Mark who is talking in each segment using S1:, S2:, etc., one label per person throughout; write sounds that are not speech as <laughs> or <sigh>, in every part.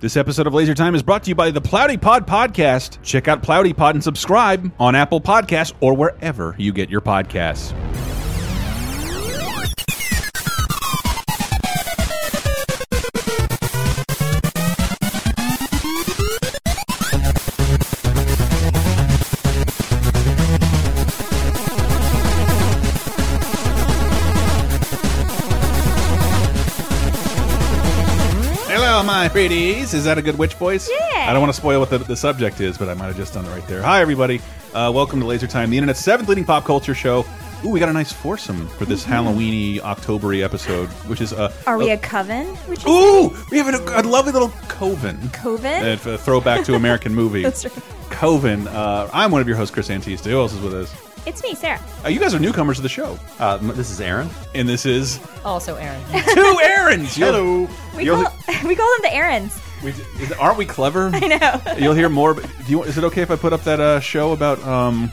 S1: This episode of Laser Time is brought to you by the Plowdy Pod Podcast. Check out Plowdy Pod and subscribe on Apple Podcasts or wherever you get your podcasts. Hello, my pretties. Is that a good witch voice?
S2: Yeah.
S1: I don't want to spoil what the, the subject is, but I might have just done it right there. Hi, everybody. Uh, welcome to Laser Time, the internet's seventh leading pop culture show. Ooh, we got a nice foursome for this Halloweeny Octobery episode, which is uh,
S2: Mm-hmm. Are we
S1: uh,
S2: a coven? Which is
S1: Ooh, we have a, a lovely little coven.
S2: coven?
S1: A, a throwback to
S2: <laughs>
S1: American movie.
S2: That's right.
S1: Coven. Uh, I'm one of your hosts, Chris Antista. Who else is with us?
S2: It's me, Sarah.
S1: Uh, you guys are newcomers to the show,
S3: Uh, m- this is Aaron.
S1: and this is
S4: Also,
S2: <laughs>
S4: Aaron.
S1: two errands. Hello.
S2: We call, <laughs> we call them the errands.
S1: We, is- aren't we clever?
S2: <laughs> I
S1: <laughs>
S2: know.
S1: You'll hear more. but Do you, is it okay if I put up that uh, show about um,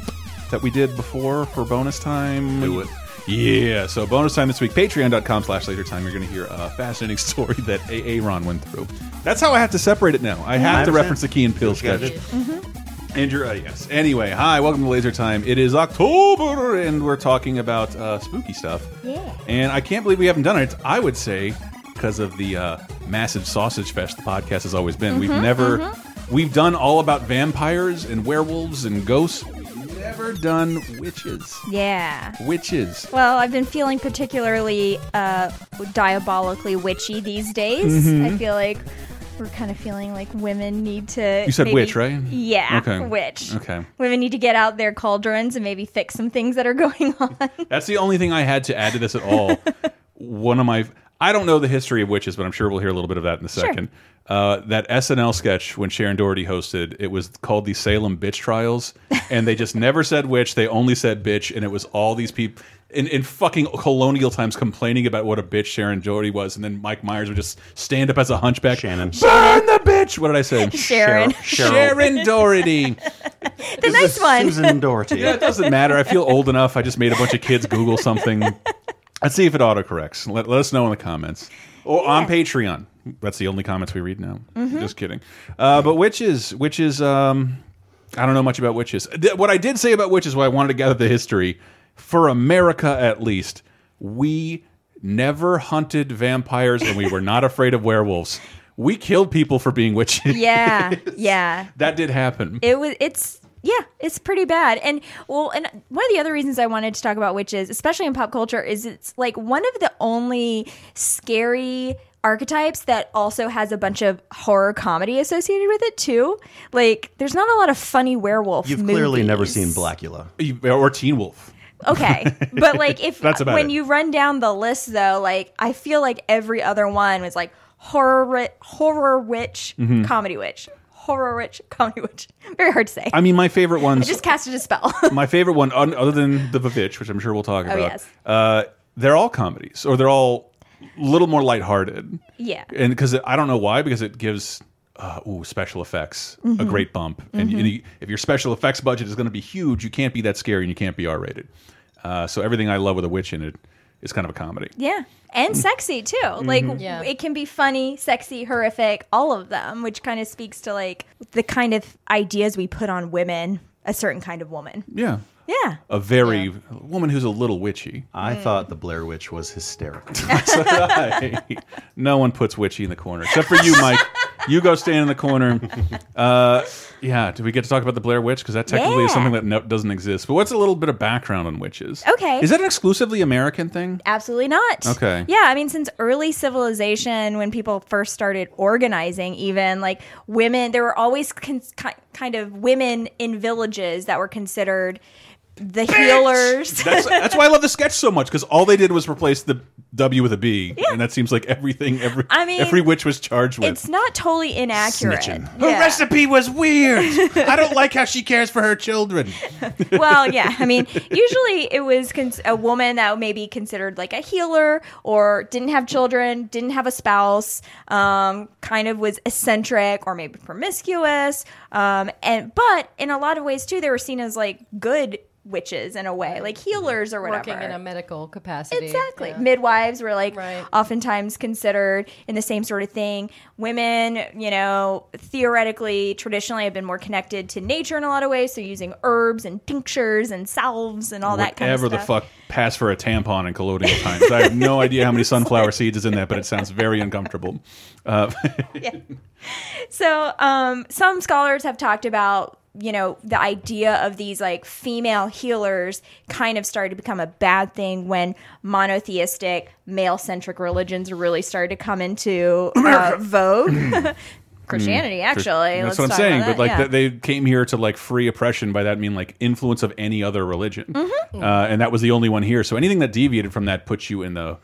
S1: that we did before for bonus time?
S3: Do it.
S1: Yeah. So bonus time this week, patreon.com slash later time. You're going to hear a fascinating <laughs> story that Aaron went through. That's how I have to separate it now. I have to
S3: understand.
S1: reference the Key and Peele
S3: Got
S1: sketch.
S2: Mm-hmm.
S1: And you're, uh, yes. Anyway, hi, welcome to Laser Time. It is October, and we're talking about uh, spooky stuff.
S2: Yeah.
S1: And I can't believe we haven't done it. I would say because of the uh, massive sausage fest the podcast has always been.
S2: Mm-hmm,
S1: we've never, we've done all about vampires and werewolves and ghosts. We've never done witches.
S2: Yeah.
S1: Witches.
S2: Well, I've been feeling particularly uh, diabolically witchy these days.
S1: Mm-hmm.
S2: I feel like we're kind of feeling like women need to.
S1: You said
S2: maybe-
S1: witch, right?
S2: Yeah,
S1: Okay.
S2: witch.
S1: Okay.
S2: Women need to get out their cauldrons and maybe fix some things that
S1: <laughs>
S2: are <laughs> going on.
S1: That's the only thing I had to add to this at all. One of my, I don't know the history of witches, but I'm sure we'll hear a little bit of that in a second. Uh, that SNL sketch when Sharon Doherty hosted, it was called the Salem Bitch Trials, and they just never said witch; they only said bitch, and it was all these people in, in fucking colonial times complaining about what a bitch Sharon Doherty was, and then Mike Myers would just stand up as a hunchback,
S3: Shannon.
S1: burn the bitch. What did I say?
S2: Sharon.
S1: Sharon Doherty.
S2: the nice one.
S3: Susan Doherty.
S1: Yeah, it doesn't matter. I feel old enough. I just made a bunch of kids Google something. Let's see if it autocorrects. Let, let us know in the comments or on Patreon. That's the only comments we read now.
S2: Mm-hmm.
S1: Just kidding. Uh, but witches, witches. Um, I don't know much about witches. Th- What I did say about witches, what I wanted to gather the history for America, at least, we never hunted vampires and we were not afraid of werewolves. We killed people for being witches.
S2: Yeah, yeah.
S1: <laughs> That did happen.
S2: it was it's yeah it's pretty bad and well and one of the other reasons i wanted to talk about witches especially in pop culture is it's like one of the only scary archetypes that also has a bunch of horror comedy associated with it too like there's not a lot of funny werewolf
S3: You've clearly never
S2: movies.
S3: seen Blackula.
S1: or Teen Wolf.
S2: okay but like if
S1: <laughs> That's about
S2: when
S1: it.
S2: you run down the list though like i feel like every other one was like horror ri- horror witch
S1: Mm-hmm.
S2: comedy witch horror witch comedy witch <laughs> very hard to say
S1: I mean, my favorite ones.
S2: just casted
S1: <laughs>
S2: a spell
S1: my favorite one, un- other than the Vavitch, which I'm sure we'll talk about.
S2: Oh, yes.
S1: uh, they're all comedies, or they're all a little more lighthearted.
S2: Yeah.
S1: and because I don't know why, because it gives. Uh, ooh, special effects,
S2: Mm-hmm.
S1: a great bump. And, and you, if your special effects budget is going to be huge, you can't be that scary and you can't be R rated. Uh, so, everything I love with a witch in it is kind of a comedy.
S2: Yeah.
S1: Mm.
S2: And sexy too. Like
S1: Mm-hmm.
S4: Yeah.
S2: it can be funny, sexy, horrific, all of them, which kind of speaks to like the kind of ideas we put on women, a certain kind of woman.
S1: Yeah.
S2: Yeah. Mm.
S1: A very woman who's a little witchy.
S3: I thought the Blair Witch was hysterical. <laughs>
S1: So did I. <laughs> no one puts Witchy in the corner except for you, Mike. You go stand in the corner. <laughs> Uh, yeah, do we get to talk about the Blair Witch? Because that technically is
S2: Yeah.
S1: something that no, doesn't exist. But what's a little bit of background on witches?
S2: Okay.
S1: Is that an exclusively American thing?
S2: Absolutely not.
S1: Okay.
S2: Yeah, I mean, since early civilization, when people first started organizing, even like women, there were always con- ki- kind of women in villages that were considered the healers.
S1: That's,
S2: <laughs>
S1: that's why I love the sketch so much because all they did was replace the W with a B, and that seems like everything every
S2: I mean,
S1: every witch was
S2: <laughs>
S1: charged with.
S2: It's not totally inaccurate.
S3: Snitching.
S2: Yeah.
S1: recipe was weird. I don't like how she cares for her children.
S2: <laughs> well, yeah. I mean, usually it was cons- a woman that may be considered like a healer or didn't have children, didn't have a spouse, um, kind of was eccentric or maybe promiscuous. Um, and but in a lot of ways too, they were seen as like good witches in a way, like
S5: Mm-hmm.
S2: healers or whatever.
S4: working in a medical capacity.
S2: Exactly.
S4: Yeah.
S2: Midwives were like
S4: Right.
S2: oftentimes considered in the same sort of thing. Women, you know, theoretically, traditionally have been more connected to nature in a lot of ways. So using herbs and tinctures and salves and all that kind of
S1: Whatever the
S2: stuff.
S1: fuck passed for a tampon in colonial times. I have no idea how many sunflower seeds is in that, but it sounds very uncomfortable. Uh, <laughs>
S2: So, um, some scholars have talked about, you know, the idea of these like female healers kind of started to become a bad thing when monotheistic, male centric religions really started to come into uh,
S1: <laughs>
S2: vogue. Christianity, actually.
S1: Mm-hmm. Mm, That's
S2: Let's
S1: what I'm
S2: talk about
S1: saying.
S2: that,
S1: But like
S2: yeah.
S1: th- they came here to like free oppression. By that I mean like influence of any other religion,
S2: Mm. Mm-hmm.
S1: uh, and that was the only one here. So anything that deviated from that puts you in the.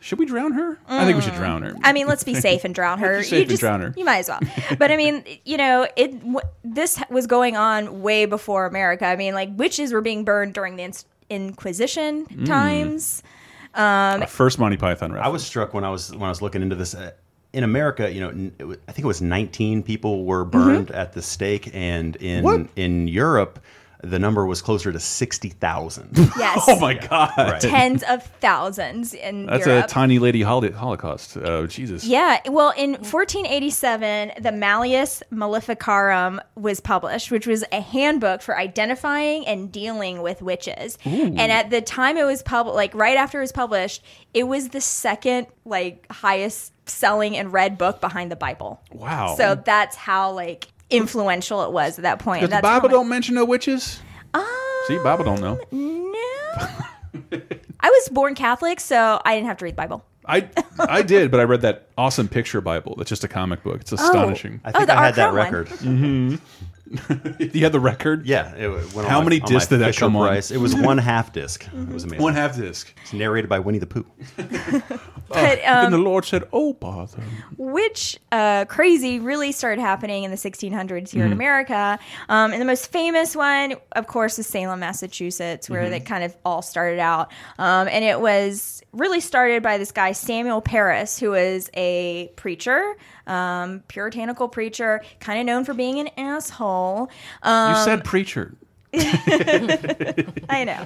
S1: Should we drown her? I think we should drown her.
S2: Mm. I mean, let's be safe and drown
S1: <laughs>
S2: her.
S1: Let's be safe and drown her.
S2: You might as well. But I mean, <laughs> you know, it w- this was going on way before America. I mean, like witches were being burned during the ins- Inquisition
S1: Mm.
S2: times. Um,
S1: Our first Monty Python reference.
S3: I was struck when I was when I was looking into this. Uh, in America, you know, n- it wa- I think it was 19 people
S2: Mm-hmm.
S3: were burned at the stake, and in
S1: What?
S3: in Europe, the number was closer to 60,000.
S2: <laughs> Yes.
S1: Oh my god!
S2: Tens of thousands in
S1: That's
S2: Europe.
S1: a tiny lady holo- Holocaust. Oh Jesus!
S2: Yeah, well, in 1487, the Malleus Maleficarum was published, which was a handbook for identifying and dealing with witches. And at the time it was published, like right after it was published, it was the second like highest selling and read book behind the Bible.
S1: Wow.
S2: So that's how like influential it was at that point.
S1: Does
S2: And
S1: the
S2: that's Um, how
S1: Bible
S2: much-
S1: don't mention no witches? See, Bible don't know.
S2: No. I was born Catholic, so I didn't have to read the Bible.
S1: I I did, but I read that awesome picture Bible. That's just a comic book. It's astonishing. Mm-hmm.
S3: I
S2: Oh,
S3: think
S2: the
S3: I had that
S2: Arcron one.
S3: record.
S1: <laughs> You had the record.
S3: Yeah, it went on
S1: How
S3: my-
S1: many
S3: on my
S1: discs did that
S3: Fisher
S1: come on?
S3: Price. It
S1: <laughs>
S3: was one half disc.
S2: Mm-hmm.
S3: It was amazing.
S1: One half disc.
S3: It's narrated by Winnie the Pooh.
S2: But um,
S1: then Oh, the Lord said, "Oh, bother."
S2: which uh, crazy really started happening in the 1600s here
S1: Mm-hmm.
S2: in America. Um, and the most famous one, of course, is Salem, Massachusetts, where
S1: Mm-hmm.
S2: that kind of all started out. Um, and it was really started by this guy, Samuel Parris, who was a preacher, um, puritanical preacher, kind of known for being an asshole.
S1: you
S2: um,
S1: said
S2: <laughs>
S1: preacher.
S2: I know.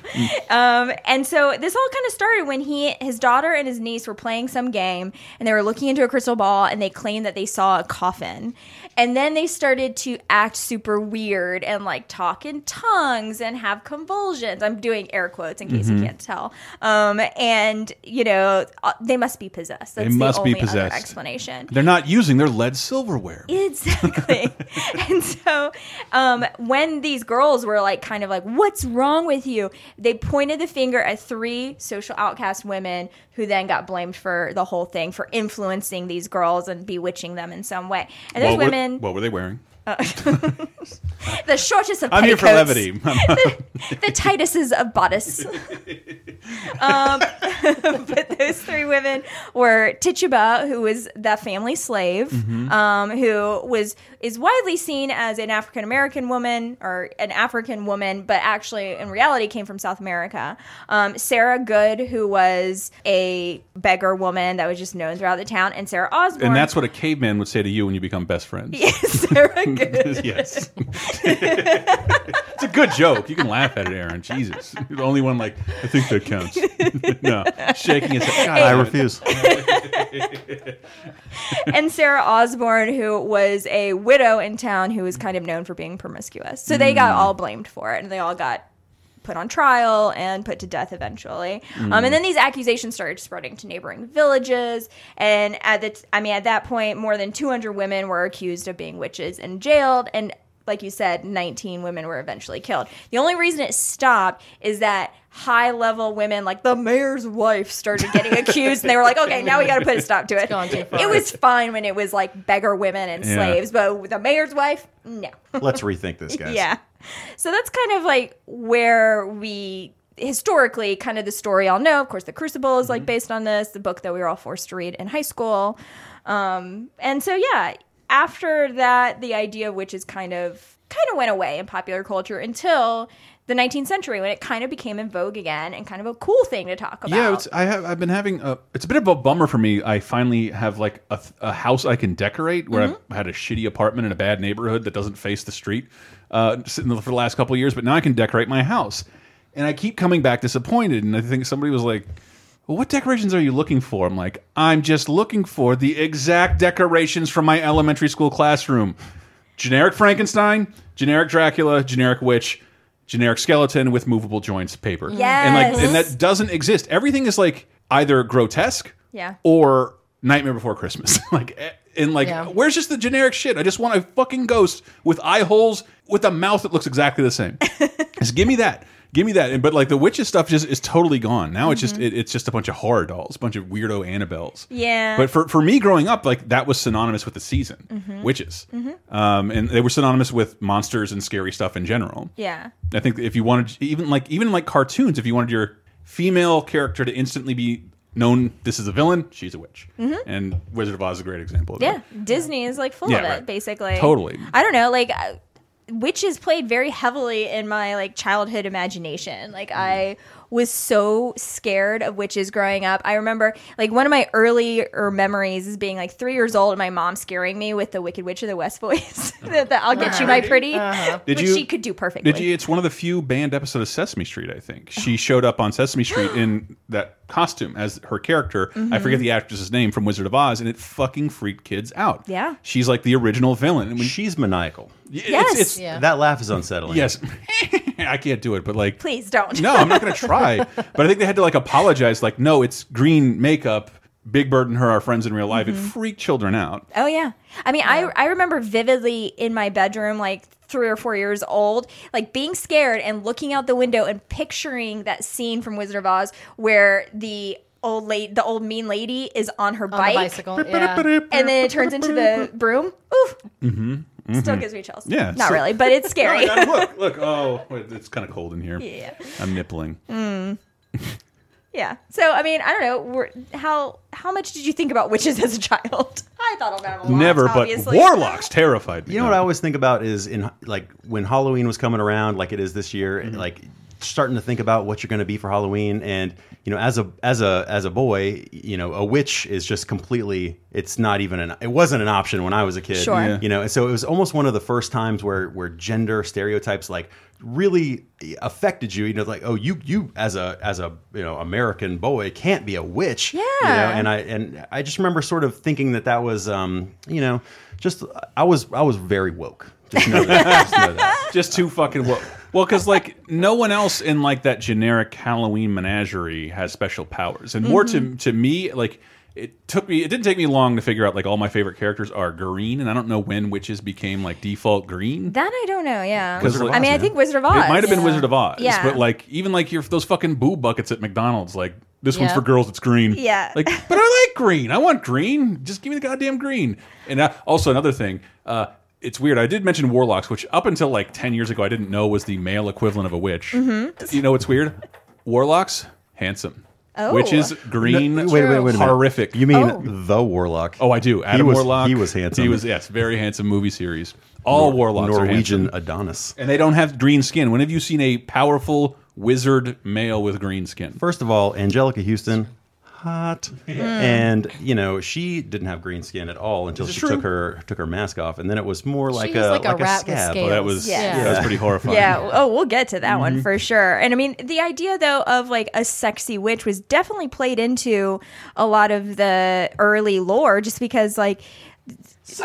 S2: Um, and so this all kind of started when he, his daughter, and his niece were playing some game, and they were looking into a crystal ball, and they claimed that they saw a coffin. And then they started to act super weird and like talk in tongues and have convulsions. I'm doing air quotes in
S1: Mm-hmm.
S2: case you can't tell. Um, and you know uh, they must be possessed. That's
S1: must
S2: the
S1: be
S2: only
S1: possessed.
S2: Other explanation.
S1: They're not using their lead silverware. <laughs>
S2: Exactly. and so um, when these girls were like, kind of like, what's wrong with you? They pointed the finger at three social outcast women who then got blamed for the whole thing for influencing these girls and bewitching them in some way. And those
S1: what, were,
S2: women,
S1: what were they wearing?
S2: Uh, <laughs> the shortest of
S1: I'm here for
S2: petticoats, <laughs>
S1: levity.
S2: the Tituses of
S1: <laughs>
S2: bodice. um, <laughs> but those three women were Tituba, who was the family slave,
S1: Mm-hmm.
S2: um, who was is widely seen as an African American woman or an African woman, but actually in reality came from South America. Um, Sarah Good, who was a beggar woman that was just known throughout the town, and Sarah Osborne.
S1: and that's what a caveman would say to you when you become best friends. <laughs>
S2: Sarah Good.
S1: yes. it's a good joke. You can laugh at it, Aaron. Jesus. You're the only one like, I think that counts. <laughs> no. Shaking his head. God,
S3: I
S1: damn it.
S3: refuse.
S1: <laughs>
S2: and Sarah Osborne, who was a widow in town who was kind of known for being promiscuous. So they
S4: Mm.
S2: got all blamed for it and they all got put on trial and put to death eventually. Um,
S4: Mm.
S2: and then these accusations started spreading to neighboring villages. And at the, t- I mean, at that point, more than 200 women were accused of being witches and jailed. And like you said, 19 women were eventually killed. The only reason it stopped is that high level women, like the mayor's wife, started getting accused, and they were like, okay, now we got to put a stop to it.
S4: gone too far.
S2: It was fine when it was like beggar women and
S1: Yeah.
S2: slaves, but with the mayor's wife, no.
S3: Let's
S2: <laughs>
S3: rethink this, guys.
S2: yeah. So that's kind of like where we historically kind of the story all know. Of course, The Crucible is
S3: Mm-hmm.
S2: like based on this, the book that we were all forced to read in high school. Um, and so yeah, after that, the idea of witches kind of kind of went away in popular culture until the 19th century when it kind of became in vogue again and kind of a cool thing to talk about.
S1: Yeah, it's, I have. I've been having. A, it's a bit of a bummer for me. I finally have like a, th- a house I can decorate where
S2: Mm-hmm.
S1: I've had a shitty apartment in a bad neighborhood that doesn't face the street uh, sitting there for the last couple of years. But now I can decorate my house, and I keep coming back disappointed. And I think somebody was like, well, "What decorations are you looking for?" I'm like, "I'm just looking for the exact decorations from my elementary school classroom: generic Frankenstein, generic Dracula, generic witch." Generic skeleton with movable joints paper. And like and
S2: Yes.
S1: that doesn't exist. Everything is like either grotesque
S2: Yeah.
S1: or Nightmare Before Christmas. <laughs> like eh, and like
S4: Yeah.
S1: where's just the generic shit? I just want a fucking ghost with eye holes with a mouth that looks exactly the
S2: <laughs>
S1: same. just give me that. Give me that. And but like the witches stuff just is totally gone. Now it's
S2: Mm-hmm.
S1: just it, it's just a bunch of horror dolls, a bunch of weirdo Annabelles.
S2: Yeah.
S1: But for, for me growing up, like that was synonymous with the season,
S2: Mm-hmm.
S1: witches. Um, and they were synonymous with monsters and scary stuff in general.
S2: Yeah.
S1: I think if you wanted even like even like cartoons, if you wanted your female character to instantly be known this is a villain, she's a witch. And Wizard of Oz is a great example of
S2: Mm-hmm. Yeah.
S1: that.
S2: Disney is like full
S1: Yeah,
S2: of it,
S1: right.
S2: basically.
S1: Totally.
S2: I don't know, like uh, witches played very heavily in my like childhood imagination. Like
S1: Mm-hmm.
S2: I was so scared of witches growing up. I remember like one of my earlier memories is being like three years old and my mom scaring me with the Wicked Witch of the West voice. <laughs> that the, I'll get you, my pretty.
S1: Did
S2: which
S1: you-
S2: she could do perfectly.
S1: Did you, it's one of the few banned episodes of Sesame Street, I think. She showed up on Sesame Street
S2: <gasps>
S1: in that costume as her character.
S2: Mm-hmm.
S1: I forget the actress's name from Wizard of Oz, and it fucking freaked kids out.
S2: <laughs> Yeah.
S1: She's like the original villain. And when
S3: She's maniacal.
S1: it's,
S2: Yes.
S1: it's-
S4: Yeah.
S3: That laugh is unsettling.
S1: Yes. <laughs> I can't do it, but like
S2: Please don't.
S1: No, I'm not going to try.
S2: <laughs>
S1: But I think they had to like apologize. Like, no, it's green makeup. Big Bird and her are friends in real life.
S2: Mm-hmm.
S1: It freaked children out.
S2: Oh yeah. I mean, I I remember vividly in my bedroom, like three or four years old, like being scared and looking out the window and picturing that scene from Wizard of Oz where the old late the old mean lady is on her
S4: on
S2: bike,
S4: the bicycle. Yeah.
S2: and then it turns into the broom. Oof. Still gives me chills.
S1: Mm-hmm. Yeah,
S2: Not
S1: so-
S2: really,
S1: <laughs>
S2: but it's
S1: Oh my
S2: scary.
S1: God, look,
S2: <laughs>
S1: look. Oh, wait, it's kind of cold in here.
S2: yeah.
S1: I'm nippling.
S2: Yeah. So I mean, I don't know. We're, how how much did you think about witches as a child? <laughs> I thought about them a lot.
S1: Never,
S2: obviously.
S1: but warlocks terrified me.
S3: You know what I always think about is in like when Halloween was coming around, like it is this year,
S1: Mm-hmm.
S3: like starting to think about what you're going to be for Halloween. And you know, as a as a as a boy, you know, a witch is just completely. It's not even an. It wasn't an option when I was a kid.
S2: Sure. Yeah.
S3: You know, and so it was almost one of the first times where where gender stereotypes like really affected you. You know, like oh, you you as a as a you know American boy can't be a witch. you know,
S2: Yeah.
S3: and I and I just remember sort of thinking that that was um, you know just I was I was very woke. Just know that. Just know that.
S1: <laughs> just too fucking wo- well because like no one else in like that generic halloween menagerie has special powers and more
S2: Mm-hmm.
S1: to to me like it took me it didn't take me long to figure out like all my favorite characters are green and i don't know when witches became like default green
S2: That I don't know. Yeah.
S1: Wizard of
S2: I
S1: Oz,
S2: mean, I
S1: man.
S2: think Wizard of
S1: it
S2: Oz.
S1: might have been
S4: Yeah.
S1: wizard of oz
S2: Yeah.
S1: but like even like your those fucking boo buckets at mcdonald's like this one's
S4: Yeah.
S1: for girls it's green
S2: Yeah. <laughs>
S1: like but i like green i want green just give me the goddamn green and uh, also another thing uh it's weird. I did mention warlocks, which up until like ten years ago, I didn't know was the male equivalent of a witch. You know what's weird? Warlocks, handsome.
S2: Mm-hmm. Oh.
S1: Witches, green.
S3: wait, wait, wait a minute.
S1: horrific.
S3: You mean
S2: Oh.
S3: the warlock?
S1: Oh, I do. Adam
S3: was-
S1: Warlock.
S3: he was handsome.
S1: He was yes, very handsome movie series. All warlocks are handsome.
S3: Norwegian Adonis.
S1: and they don't have green skin. When have you seen a powerful wizard male with green skin?
S3: First of all, Angelica Houston, hot,
S6: Mm.
S3: and you know she didn't have green skin at all until
S1: Is it
S3: she
S1: true?
S3: took her took her mask off, and then it was more like
S4: was
S3: a
S4: like a rat with
S3: scab. Oh,
S4: scales.
S1: that was
S2: Yeah.
S1: that was pretty horrifying.
S2: Yeah. Oh, we'll get to that one for sure. And I mean, the idea though of like a sexy witch was definitely played into a lot of the early lore, just because like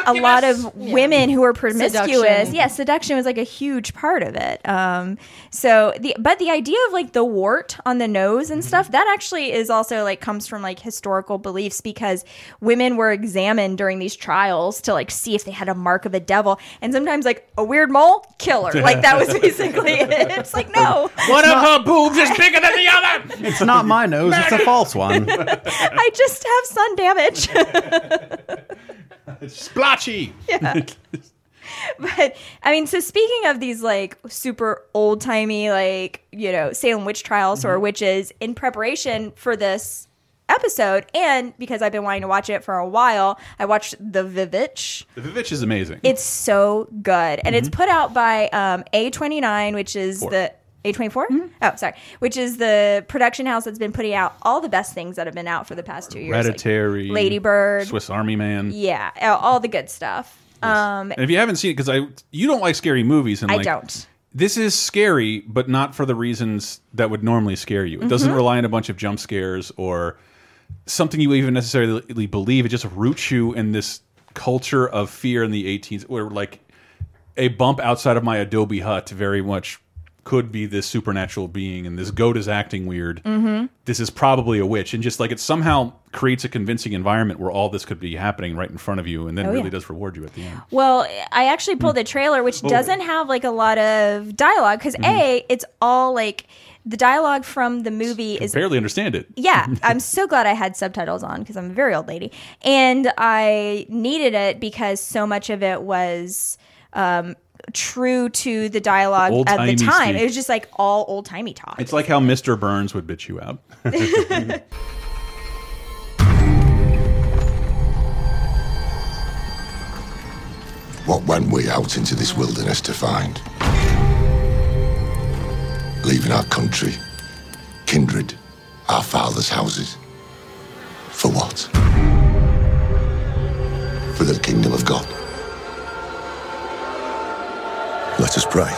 S2: a lot of women who were promiscuous,
S4: Seduction.
S2: yeah, seduction was like a huge part of it. Um, so the but the idea of like the wart on the nose
S1: Mm-hmm.
S2: and stuff that actually is also like comes from like historical beliefs because women were examined during these trials to like see if they had a mark of a devil, and sometimes like a weird mole killer, like that was
S1: <laughs>
S2: basically it. It's like no,
S1: One of her boobs is bigger than the other.
S3: It's not my nose; it's a false one.
S2: <laughs> I just have sun damage.
S1: It's splotchy.
S2: But I mean, so speaking of these like super old timey, like, you know, Salem witch trials or witches in preparation for this episode, and because I've been wanting to watch it for a while, I watched The Vivitch.
S1: The Vivitch is amazing.
S2: It's so good. And it's put out by um, A29, which is the. A24? Oh, sorry. Which is the production house that's been putting out all the best things that have been out for the past two years. like
S1: Hereditary,
S2: Lady Bird.
S1: Swiss Army Man.
S2: Yeah, all all the good stuff. Um,
S1: And if you haven't seen it, because I you don't like scary movies, and
S2: I
S1: like,
S2: don't.
S1: this is scary, but not for the reasons that would normally scare you.
S2: Mm-hmm.
S1: It doesn't rely on a bunch of jump scares or something you even necessarily believe. It just roots you in this culture of fear in the 18th, where like a bump outside of my Adobe hut very much could be this supernatural being, and this goat is acting weird.
S2: Mm-hmm.
S1: This is probably a witch, and just like it somehow creates a convincing environment where all this could be happening right in front of you, and then
S2: Oh,
S1: really
S2: yeah.
S1: does reward you at the end.
S2: Well, I actually pulled a trailer which doesn't have like a lot of dialogue because a it's all like the dialogue from the movie is
S1: Barely understand it. <laughs>
S2: yeah. I'm so glad I had subtitles on because I'm a very old lady and I needed it because so much of it was. Um, True to the dialogue at
S1: Old-timey
S2: the time,
S1: speak.
S2: it was just like all old timey talk.
S1: It's like how Mr. Burns would bitch you out.
S4: What went we out into this wilderness to find? Leaving our country, kindred, our fathers' houses. For what? For the kingdom of God. Let us pray.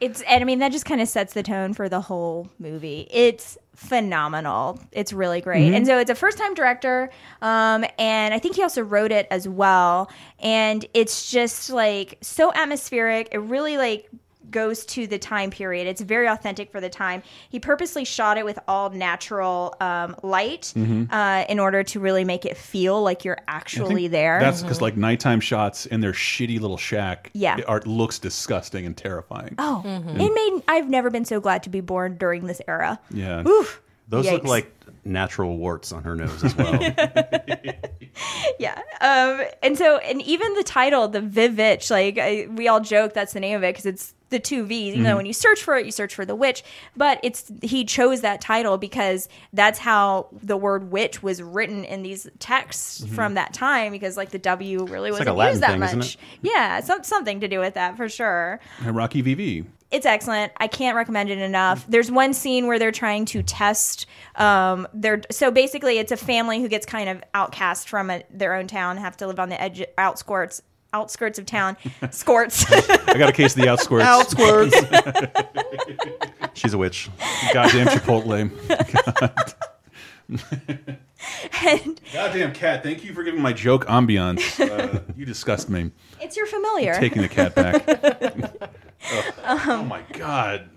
S2: It's and I mean that just kind of sets the tone for the whole movie. It's phenomenal. It's really great.
S1: Mm-hmm.
S2: And so it's a first time director, um, and I think he also wrote it as well. And it's just like so atmospheric. It really like goes to the time period. It's very authentic for the time. He purposely shot it with all natural um, light
S1: Mm-hmm.
S2: uh, in order to really make it feel like you're actually there. Mm-hmm.
S1: That's because like nighttime shots in their shitty little shack
S2: Yeah.
S1: are looks disgusting and terrifying.
S2: oh,
S3: Mm-hmm.
S2: it made. I've never been so glad to be born during this era.
S1: Yeah.
S2: Oof.
S3: <laughs> Those look
S2: Yikes.
S3: like natural warts on her nose as well.
S2: <laughs> Yeah. Um, and so, and even the title, the Vivitch, like I, we all joke that's the name of it because it's the two V's.
S3: Mm-hmm.
S2: You know, when you search for it, you search for the witch, but it's he chose that title because that's how the word witch was written in these texts from that time because like the W really
S3: Mm-hmm. like
S2: wasn't
S3: a Latin
S2: used that
S3: thing,
S2: much.
S3: isn't
S2: Yeah, some, something to do with that for sure
S1: Rocky VV.
S2: it's excellent. I can't recommend it enough. There's one scene where they're trying to test um their so basically it's a family who gets kind of outcast from a, their own town, have to live on the edge outskirts outskirts
S1: <laughs>
S2: of town, skirts.
S1: I got a case of the outsquirts. <laughs>
S3: Outsquirts. She's a witch.
S1: Goddamn
S2: <laughs>
S1: Chipotle.
S2: and
S1: Goddamn cat. Thank you for giving my joke
S2: <laughs>
S1: ambiance. Uh, you disgust me.
S2: it's your familiar.
S1: Taking the cat back.
S2: <laughs>
S1: <laughs> oh, oh my god.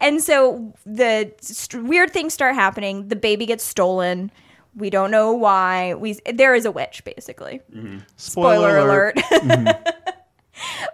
S2: and so the st- weird things start happening. The baby gets stolen. We don't know why. We there is a witch basically.
S6: Mm-hmm.
S2: spoiler, alert. <laughs>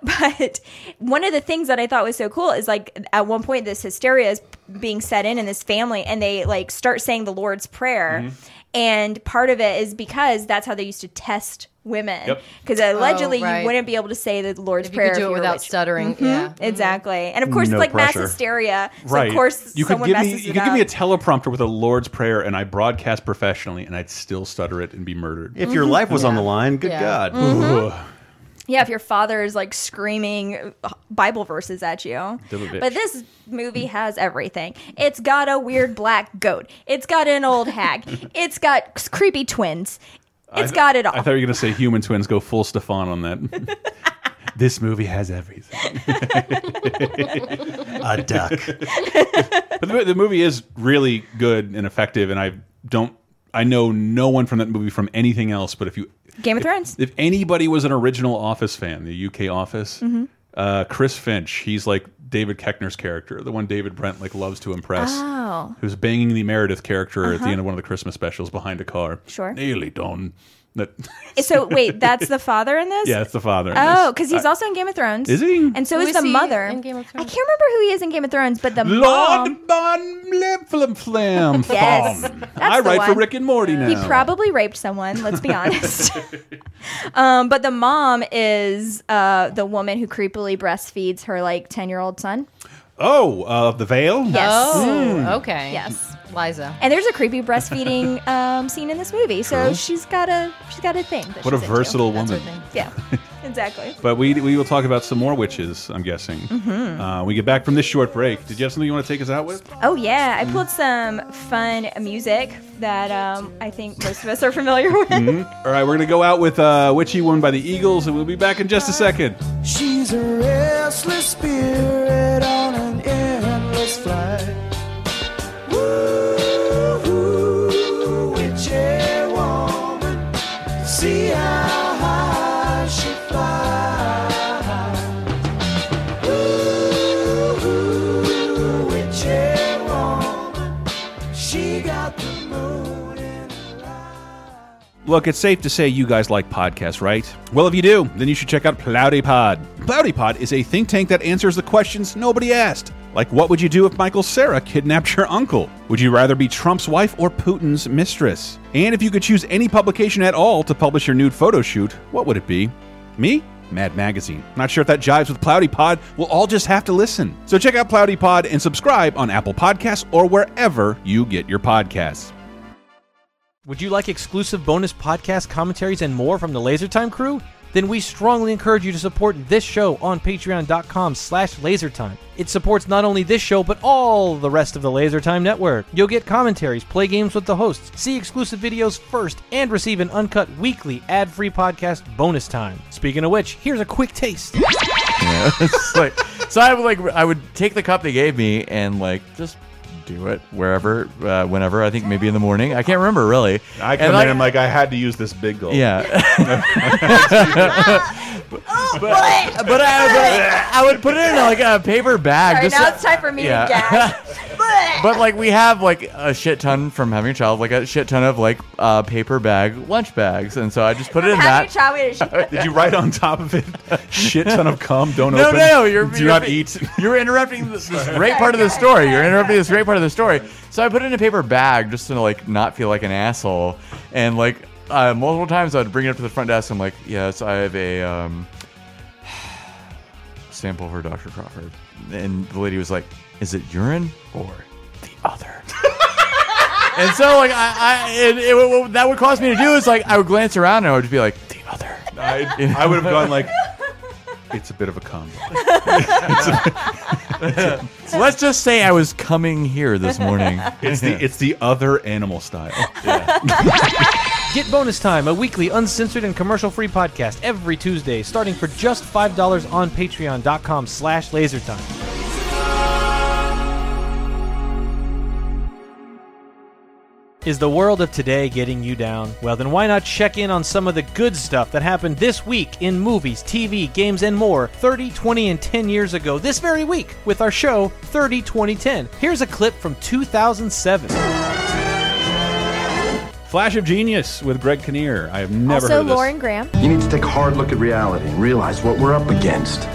S1: Mm-hmm.
S2: but one of the things that I thought was so cool is like at one point this hysteria is being set in in this family and they like start saying the Lord's
S6: Mm-hmm.
S2: prayer
S1: Mm-hmm.
S2: and part of it is because that's how they used to test women
S1: Yep.
S2: because allegedly
S7: right.
S2: you wouldn't be able to say the Lord's
S7: If you
S2: prayer
S7: could do
S2: if
S7: it
S2: were
S7: without
S2: rich.
S7: stuttering,
S2: Mm-hmm.
S7: yeah.
S2: Exactly, and of course
S3: No
S2: it's like
S3: pressure.
S2: mass hysteria. So
S1: Right.
S2: of course
S1: you could
S2: someone
S1: give me
S2: messes
S1: you
S2: it
S1: could give me a
S2: up.
S1: teleprompter with a Lord's prayer and I broadcast professionally and I'd still stutter it and be murdered.
S3: If your life was on the
S7: Yeah.
S3: line, good
S7: Yeah.
S3: God.
S2: Mm-hmm.
S1: Ugh.
S2: Yeah, if your father is like screaming uh, Bible verses at you.
S1: Dumb bitch.
S2: But this movie has everything. It's got a weird black goat. It's got an old hag.
S1: <laughs>
S2: It's got s- creepy twins. It's
S1: I-
S2: got it all.
S1: I thought you were gonna say human twins go full Stefan on
S2: <laughs>
S1: that. this movie has everything.
S3: A duck.
S1: But the, the movie is really good and effective, and I don't. I know no one from that movie from anything else. But if you,
S2: Game of Thrones.
S1: if anybody was an original Office fan, the UK Office,
S2: Mm-hmm.
S1: uh, Chris Finch, he's like David Keckner's character, the one David Brent like loves to impress,
S2: Oh. Uh-huh.
S1: who's banging the Meredith character at the end of one of the Christmas specials behind a car.
S2: Sure.
S1: nearly done. That,
S2: So wait, that's the father in this?
S1: yeah, that's the father. in
S2: Oh,
S1: this. Uh,
S2: because he's also in Game of Thrones.
S1: Is he?
S2: And so
S7: Who
S2: is
S7: is
S2: the
S7: he
S2: mother.
S7: in Game of
S2: I
S7: Thrones?
S2: can't remember who he is in Game of Thrones, but the
S1: Lord
S2: mom.
S1: Bon Lim Flim Flam.
S2: <laughs> Yes,
S1: Flam.
S2: that's
S1: I
S2: the
S1: write for
S2: one.
S1: Rick and Morty now.
S2: He probably raped someone.
S1: <laughs>
S2: Let's be honest. <laughs> um, but the mom is uh, the woman who creepily breastfeeds her like ten year old son.
S1: Oh, uh, the veil.
S2: Yes.
S7: Oh, okay.
S2: Yes.
S7: Liza.
S2: And there's a creepy
S1: <laughs>
S2: breastfeeding um, scene in this movie, so
S1: True.
S2: she's got a she's got a thing. that
S1: What a
S2: she's into.
S1: versatile
S7: That's her
S1: woman.
S7: thing.
S2: Yeah, exactly.
S1: But we we will talk about some more witches, I'm guessing.
S7: Mm-hmm.
S2: Mm-hmm.
S1: Uh, we get back from this short break. Did you have something you want to take us out with?
S2: Oh yeah,
S1: mm.
S2: I pulled some fun music that um, I think most of us are familiar <laughs> with.
S1: Mm-hmm. All right, we're gonna go out with uh, "Witchy Woman" by the Eagles, and we'll be back in just a second.
S6: She's a restless spirit on an endless flight. Woo-hoo, witchy woman, see how high she flies. Woo-hoo, witchy woman, she got the moon in her eyes.
S1: Look, it's safe to say you guys like podcasts, right? Well, if you do, then you should check out Plowdypod. Plowdypod is a think tank that answers the questions nobody asked. Like, what would you do if Michael Sarah kidnapped your uncle? Would you rather be Trump's wife or Putin's mistress? And if you could choose any publication at all to publish your nude photo shoot, what would it be? Me? Mad Magazine. Not sure if that jives with Plowdy Pod. We'll all just have to listen. So check out Plowdy Pod and subscribe on Apple Podcasts or wherever you get your podcasts.
S8: Would you like exclusive bonus podcast commentaries and more from the LaserTime crew? Then we strongly encourage you to support this show on patreon.com slash lasertime. It supports not only this show, but all the rest of the LaserTime network. You'll get commentaries, play games with the hosts, see exclusive videos first, and receive an uncut weekly ad-free podcast bonus time. Speaking of which, here's a quick taste.
S9: It's like- so I would like I would take the cup they gave me and like just do it wherever, uh, whenever. I think maybe in the morning. I can't remember really.
S1: I come
S9: And,
S1: in, I'm like, I had to use this big
S3: <laughs>
S1: goal.
S9: yeah.
S2: Oh,
S9: but, but, but I, but I would put it in like a paper bag.
S2: All right,
S9: just
S2: now
S9: so-
S2: it's time for me
S9: yeah.
S2: to
S9: <laughs>
S2: gag.
S9: but like we have like a shit ton from having a child, like a shit ton of like uh, paper bag lunch bags, and so I just put it in
S2: Happy
S9: that.
S2: child wait, is she-
S1: Did you write on top of it? <laughs> Shit ton of cum. Don't
S9: No,
S1: open.
S9: no, no, you're
S1: do
S9: you're-
S1: not eat.
S9: You're
S1: <laughs>
S9: interrupting this, this great part of the story. You're interrupting this great part of the story. So I put it in a paper bag just to like not feel like an asshole, and like uh, multiple times I'd bring it up to the front desk. I'm like, yes, I have a um, <sighs> sample for Dr. Crawford, and the lady was like, is it urine or the other? <laughs> And so, like, I, I and it, would- what that would cause me to do is, like, I would glance around and I would just be like, the other.
S1: I, I would have gone
S9: <laughs>
S1: like, it's a bit of a cum.
S9: Let's just say I was coming here this morning.
S1: It's the it's the other animal style.
S8: Get Bonus Time, a weekly uncensored and commercial-free podcast every Tuesday, starting for just $5 on patreon.com slash lasertime. Is the world of today getting you down? Well, then why not check in on some of the good stuff that happened this week in movies, TV, games, and more 30, 20, and 10 years ago this very week with our show 30, 20, 10. Here's a clip from 2007.
S1: Flash of Genius <laughs> with Greg Kinnear. I have never heard
S2: also,
S1: of this.
S2: Lauren Graham.
S10: You need to take a hard look at reality and realize what we're up against.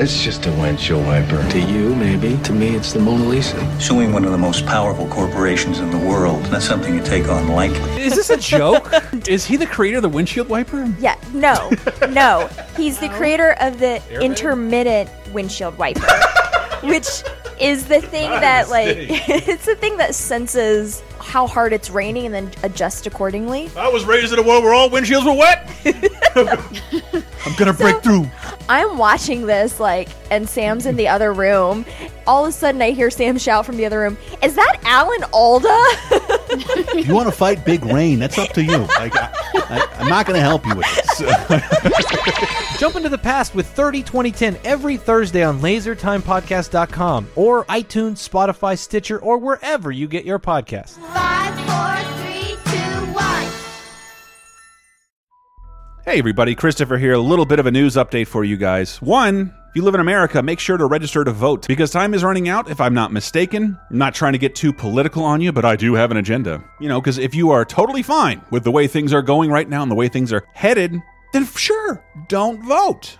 S11: It's just a windshield wiper.
S10: To you, maybe. To me, it's the Mona Lisa.
S12: Suing one of the most powerful corporations in the world, not something you take on lightly.
S8: Is this a
S3: <laughs>
S8: joke?
S1: Is he the creator of the windshield wiper?
S2: Yeah, no, no. He's the creator of the intermittent windshield wiper, which is the thing that like <laughs> it's the thing that senses how hard it's raining and then adjusts accordingly.
S1: I was raised in a world where all windshields were wet. I'm gonna break through.
S2: I'm watching this like, and Sam's in the other room. All of a sudden, I hear Sam shout from the other room, "Is that Alan Alda?"
S3: <laughs> You want to fight Big Rain? That's up
S1: <laughs>
S3: to you. Like, I, I, I'm not going to help you with this. <laughs>
S8: Jump into the past with 30 2010 every Thursday on lasertimepodcast.com or iTunes, Spotify, Stitcher, or wherever you get your podcasts.
S6: Five, four, three, two, one.
S1: Hey, everybody, Christopher here. A little bit of a news update for you guys. One, if you live in America, make sure to register to vote because time is running out, if I'm not mistaken. I'm not trying to get too political on you, but I do have an agenda. You know, because if you are totally fine with the way things are going right now and the way things are headed, then sure, don't vote.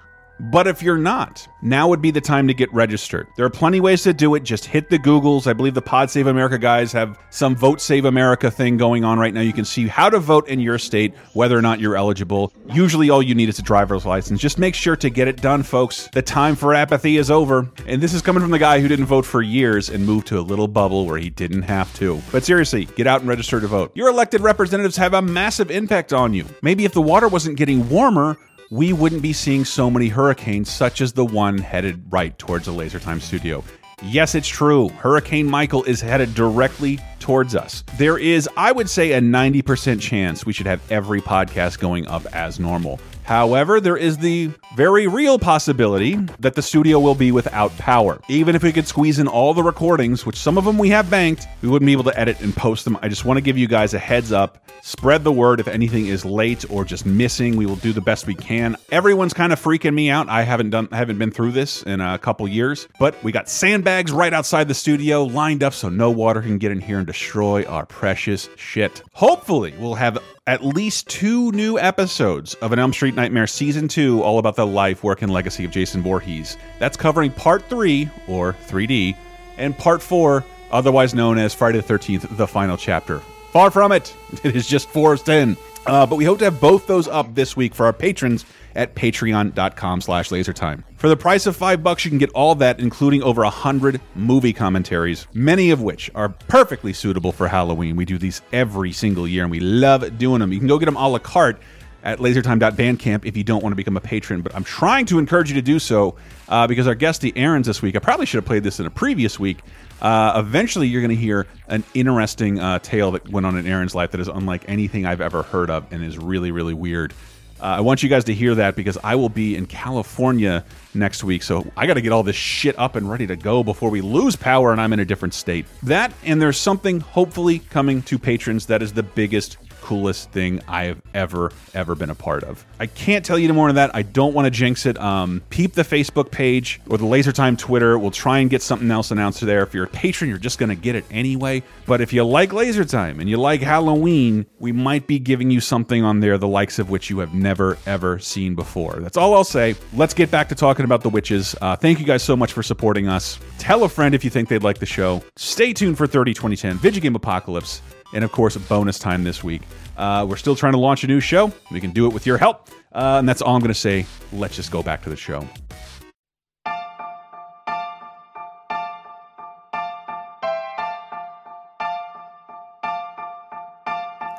S1: But if you're not, now would be the time to get registered. There are plenty ways to do it. Just hit the Googles. I believe the Pod Save America guys have some Vote Save America thing going on right now. You can see how to vote in your state, whether or not you're eligible. Usually, all you need is a driver's license. Just make sure to get it done, folks. The time for apathy is over. And this is coming from the guy who didn't vote for years and moved to a little bubble where he didn't have to. But seriously, get out and register to vote. Your elected representatives have a massive impact on you. Maybe if the water wasn't getting warmer, we wouldn't be seeing so many hurricanes such as the one headed right towards the Laser Time studio. Yes, it's true. Hurricane Michael is headed directly towards us. There is, I would say, a 90% chance we should have every podcast going up as normal. However, there is the very real possibility that the studio will be without power. Even if we could squeeze in all the recordings, which some of them we have banked, we wouldn't be able to edit and post them. I just want to give you guys a heads up. Spread the word if anything is late or just missing. We will do the best we can. Everyone's kind of freaking me out. I haven't done haven't been through this in a couple years, but we got sandbags right outside the studio lined up so no water can get in here and destroy our precious shit. Hopefully, we'll have at least two new episodes of an Elm Street Nightmare Season 2, all about the life, work, and legacy of Jason Voorhees. That's covering Part 3, or 3D, and Part 4, otherwise known as Friday the 13th, the final chapter. Far from it, <laughs> it is just Forest End. Uh, but we hope to have both those up this week for our patrons at patreon.com slash lasertime. For the price of five bucks, you can get all that, including over a hundred movie commentaries, many of which are perfectly suitable for Halloween. We do these every single year, and we love doing them. You can go get them a la carte at lasertime.bandcamp if you don't want to become a patron, but I'm trying to encourage you to do so uh, because our guest, the Aaron's this week, I probably should have played this in a previous week. Uh, eventually, you're going to hear an interesting uh, tale that went on in Aaron's life that is unlike anything I've ever heard of and is really, really weird. Uh, I want you guys to hear that because I will be in California next week. So I got to get all this shit up and ready to go before we lose power and I'm in a different state. That, and there's something hopefully coming to patrons that is the biggest, coolest thing I have ever, ever been a part of. I can't tell you any more than that. I don't want to jinx it. Um, peep the Facebook page or the Laser Time Twitter. We'll try and get something else announced there. If you're a patron, you're just going to get it anyway. But if you like Laser Time and you like Halloween, we might be giving you something on there, the likes of which you have never, ever seen before. That's all I'll say. Let's get back to talking about the witches. Uh, thank you guys so much for supporting us. Tell a friend if you think they'd like the show. Stay tuned for 30 2010, Video Game Apocalypse, and of course, bonus time this week. Uh, we're still trying to launch a new show. We can do it with your help. Uh, and that's all I'm going to say. Let's just go back to the show.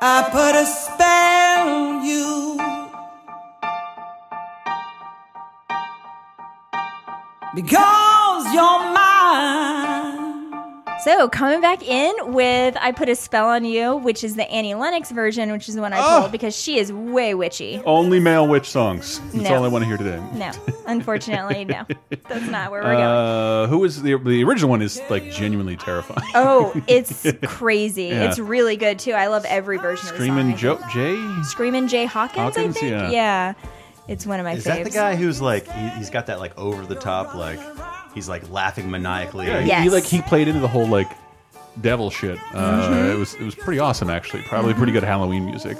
S7: I put a spell on you. Because you're mine.
S2: So coming back in with I Put a Spell on You, which is the Annie Lennox version, which is the one I
S1: Oh.
S2: pulled because she is way witchy.
S1: Only male witch songs. That's
S2: No.
S1: all I want to hear today.
S2: No, unfortunately, no. That's not where we're going.
S1: Uh, who is the the original one is like genuinely terrifying. <laughs>
S2: Oh, it's crazy.
S1: Yeah.
S2: It's really good too. I love every version
S1: Screaming
S2: of the
S1: Joe
S2: song.
S1: Jay.
S2: Screaming Jay Hawkins,
S3: Hawkins?
S2: I think.
S3: Yeah.
S2: Yeah. It's one of my
S3: Is
S2: faves.
S3: that the guy who's like he, he's got that like over the top like he's like laughing maniacally?
S1: Yeah, he- he, like he played into the whole like devil shit.
S3: Mhm.
S1: Uh,
S2: Mm-hmm.
S1: It was it was pretty awesome actually. Probably pretty good Halloween music.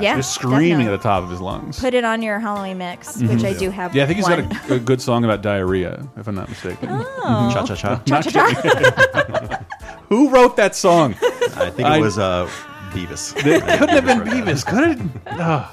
S2: Yeah,
S1: just screaming
S2: definitely.
S1: at the top of his lungs.
S2: Put it on your Halloween mix, which I do have.
S1: Mm-hmm. Yeah, I think he's
S2: one.
S1: got a, a good song about diarrhea, if I'm not mistaken.
S2: Oh.
S3: Cha cha cha.
S1: Not <laughs> Who wrote that song?
S3: I think it was uh, Beavis.
S1: It couldn't have been Beavis, could it? Ugh.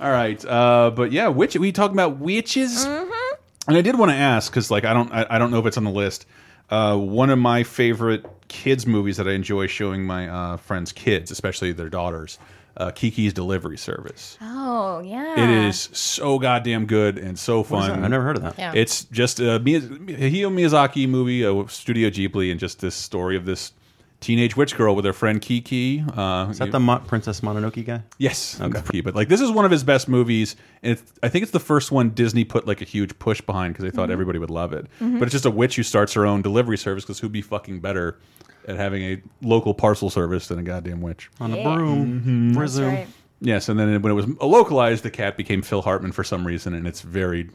S1: All right, uh, but yeah, witch. We talking about witches,
S2: Mm-hmm.
S1: and I did want to ask because, like, I don't, I, I don't know if it's on the list. Uh, one of my favorite kids movies that I enjoy showing my uh, friends' kids, especially their daughters, uh, Kiki's Delivery Service.
S2: Oh yeah.
S1: It is so goddamn good and so
S3: What is
S1: fun.
S3: that? I've never heard of that.
S2: Yeah.
S1: It's just a Miyaz- Hayao Miyazaki movie, uh, Studio Ghibli, and just this story of this teenage witch girl with her friend Kiki. Uh,
S3: Is that the Mo- Princess Mononoke guy?
S1: Yes, okay. but like this is one of his best movies, and it's, I think it's the first one Disney put like a huge push behind because they
S2: Mm-hmm.
S1: thought
S3: Mhm.
S1: everybody would love it.
S3: Mhm.
S1: But it's just a witch who starts her own delivery service because who'd be fucking better at having a local parcel service than a goddamn witch
S3: On a Yeah. broom.
S1: Mhm.
S3: Mm-hmm. That's Resume. right.
S1: Yes, and then when it was localized, the cat became Phil Hartman for some reason, and it's very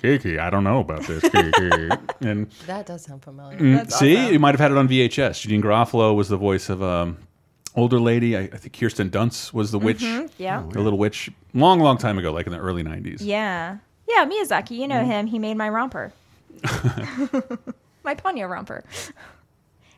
S1: Kiki. I don't know about this Kiki,
S2: <laughs>
S1: and
S5: That does sound familiar.
S1: Mm, see, you might have had it on VHS. Jeanine Garofalo was the voice of um, older lady. I, I think Kirsten Dunst was the witch.
S2: Mhm, yeah. Oh,
S1: the little witch. Long, long time ago, like in the early '90s.
S2: Yeah. Yeah, Miyazaki, you
S1: Mm-hmm.
S2: know him. He made
S1: <laughs>
S2: my romper, <laughs> my Ponyo romper. <laughs>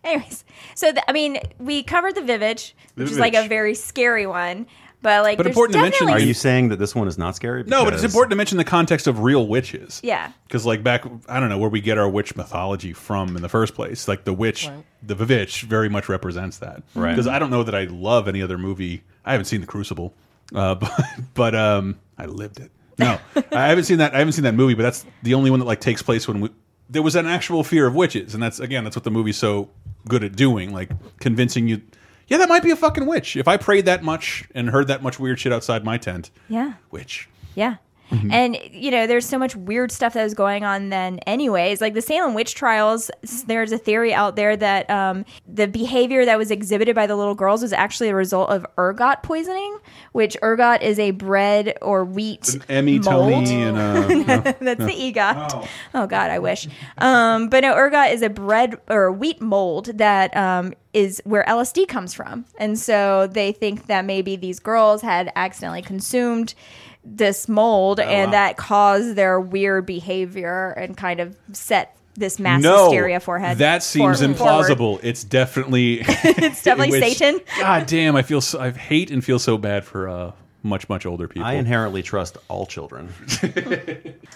S2: Anyways, so the, I mean, we covered the Vivitch,
S3: The
S2: which is like a
S3: Vivitch.
S2: very scary one, but like,
S1: But
S2: there's
S1: important to mention,
S2: definitely,
S3: Are you saying that this one is not scary?
S1: No, but it's
S3: Because-
S1: important to mention the context of real witches.
S2: Yeah.
S1: Because, like, back, I don't know, where we get our witch mythology from in the first place. Like, the witch,
S2: Right.
S1: the Vivitch very much represents that.
S3: Right.
S1: Because I don't know that I love any other movie. I haven't seen The Crucible, uh, <laughs> but, but um, I lived it. No, I haven't seen that. I haven't seen that movie, but that's the only one that, like, takes place when we, there was an actual fear of witches. And that's, again, that's what the movie's so good at doing, like, convincing you. Yeah, that might be a fucking witch. If I prayed that much and heard that much weird shit outside my tent,
S2: yeah,
S1: witch.
S2: yeah.
S1: Mhm.
S2: And you know, there's so much weird stuff that was going on then. Anyways, like the Salem witch trials, s- there's a theory out there that um, the behavior that was exhibited by the little girls was actually a result of ergot poisoning, which ergot is a bread or wheat
S1: Emmy,
S2: mold.
S1: Tony, E and
S2: <laughs>
S1: uh, no,
S2: That's
S1: no.
S2: the EGOT. Oh. God, I wish. Um, but no, ergot is a bread or wheat mold that um, is where LSD comes from, and so they think that maybe these girls had accidentally consumed this mold, and
S1: Oh, wow.
S2: that caused their weird behavior and kind of set this mass
S1: no,
S2: hysteria forehead.
S1: That seems
S2: for- forward.
S1: implausible. It's definitely
S2: <laughs>
S1: <laughs>
S2: it's definitely
S1: which-
S2: Satan.
S1: God damn, I feel so, I hate and feel so bad for uh, much much older people.
S3: I inherently trust all children.
S1: <laughs>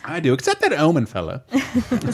S1: I do, except that Omen fella. <laughs>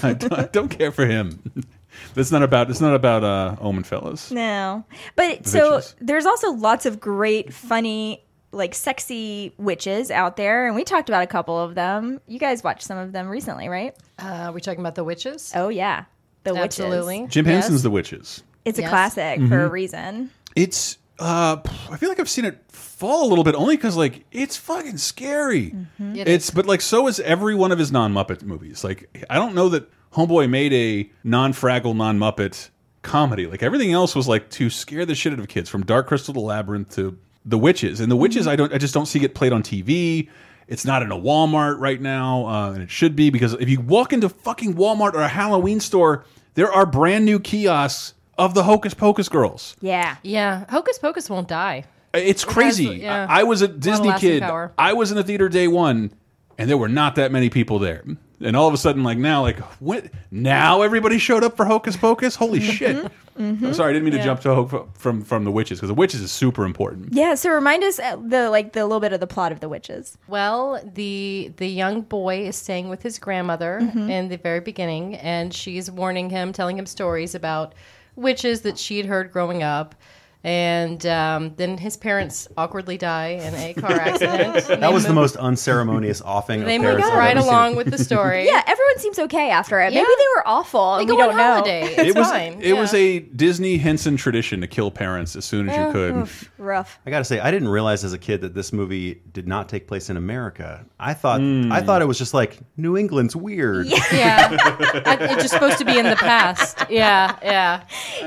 S1: I, don't, I don't care for him. <laughs> That's not about. It's not about uh, Omen fellas.
S2: No. But
S1: The
S2: so
S1: witches.
S2: there's also lots of great, funny, like sexy witches out there. And we talked about a couple of them. You guys watched some of them recently, right?
S5: Uh, are we talking about the witches?
S2: Oh, yeah. The witches.
S5: Absolutely.
S1: Jim
S5: Yes.
S1: Henson's The Witches.
S2: It's a
S5: Yes.
S2: classic for a
S1: Mhm.
S2: reason.
S1: It's. Uh, I feel like I've seen it fall a little bit only because like it's fucking scary.
S5: It
S1: it's but like so is every one of his non Muppet movies. Like I don't know that Homeboy made a non Fraggle non Muppet comedy. Like everything else was like to scare the shit out of kids from Dark Crystal to Labyrinth to The Witches. And The Witches, I don't, I just don't see it played on TV. It's not in a Walmart right now, uh, and it should be because if you walk into fucking Walmart or a Halloween store, there are brand new kiosks of the Hocus Pocus girls.
S2: Yeah.
S5: Yeah. Hocus Pocus won't die.
S1: It's
S5: Because,
S1: crazy.
S5: yeah.
S1: I, I was a
S5: Lot of
S1: Disney
S5: lasting
S1: kid.
S5: power.
S1: I was in the theater day one, and there were not that many people there. And all of a sudden, like now, like what? Now everybody showed up for Hocus Pocus. Holy
S5: Mm-hmm.
S1: shit!
S2: Mm-hmm.
S1: I'm sorry, I didn't mean to
S2: Yeah.
S1: jump to Ho- from from the witches because the witches is super important.
S2: Yeah, so remind us uh, the like the little bit of the plot of the witches.
S5: Well, the the young boy is staying with his grandmother
S2: Mm-hmm.
S5: in the very beginning, and she's warning him, telling him stories about witches that she'd heard growing up. And um, then his parents awkwardly die in
S3: <laughs>
S5: a
S2: <laughs>
S5: car accident. and
S3: that
S5: they
S3: was the
S5: move-
S3: most unceremonious offing.
S5: They
S3: of
S5: moved
S3: parents I've
S5: right
S3: ever seen.
S1: <laughs>
S5: along with the story.
S2: Yeah, everyone seems okay after it. Maybe they were awful. and
S5: go
S2: we
S5: on
S2: don't know. <laughs>
S5: holiday. It's
S1: it was
S5: fine,
S1: it was
S5: yeah.
S1: a Disney Henson tradition to kill parents as soon as you
S2: Yeah,
S1: could.
S2: oof, rough.
S3: I gotta say, I didn't realize as a kid that this movie did not take place in America. I thought
S1: Hmm.
S3: I thought it was just like New England's weird.
S5: Yeah. I- it's just supposed to be in the
S2: <laughs>
S5: past. Yeah, yeah.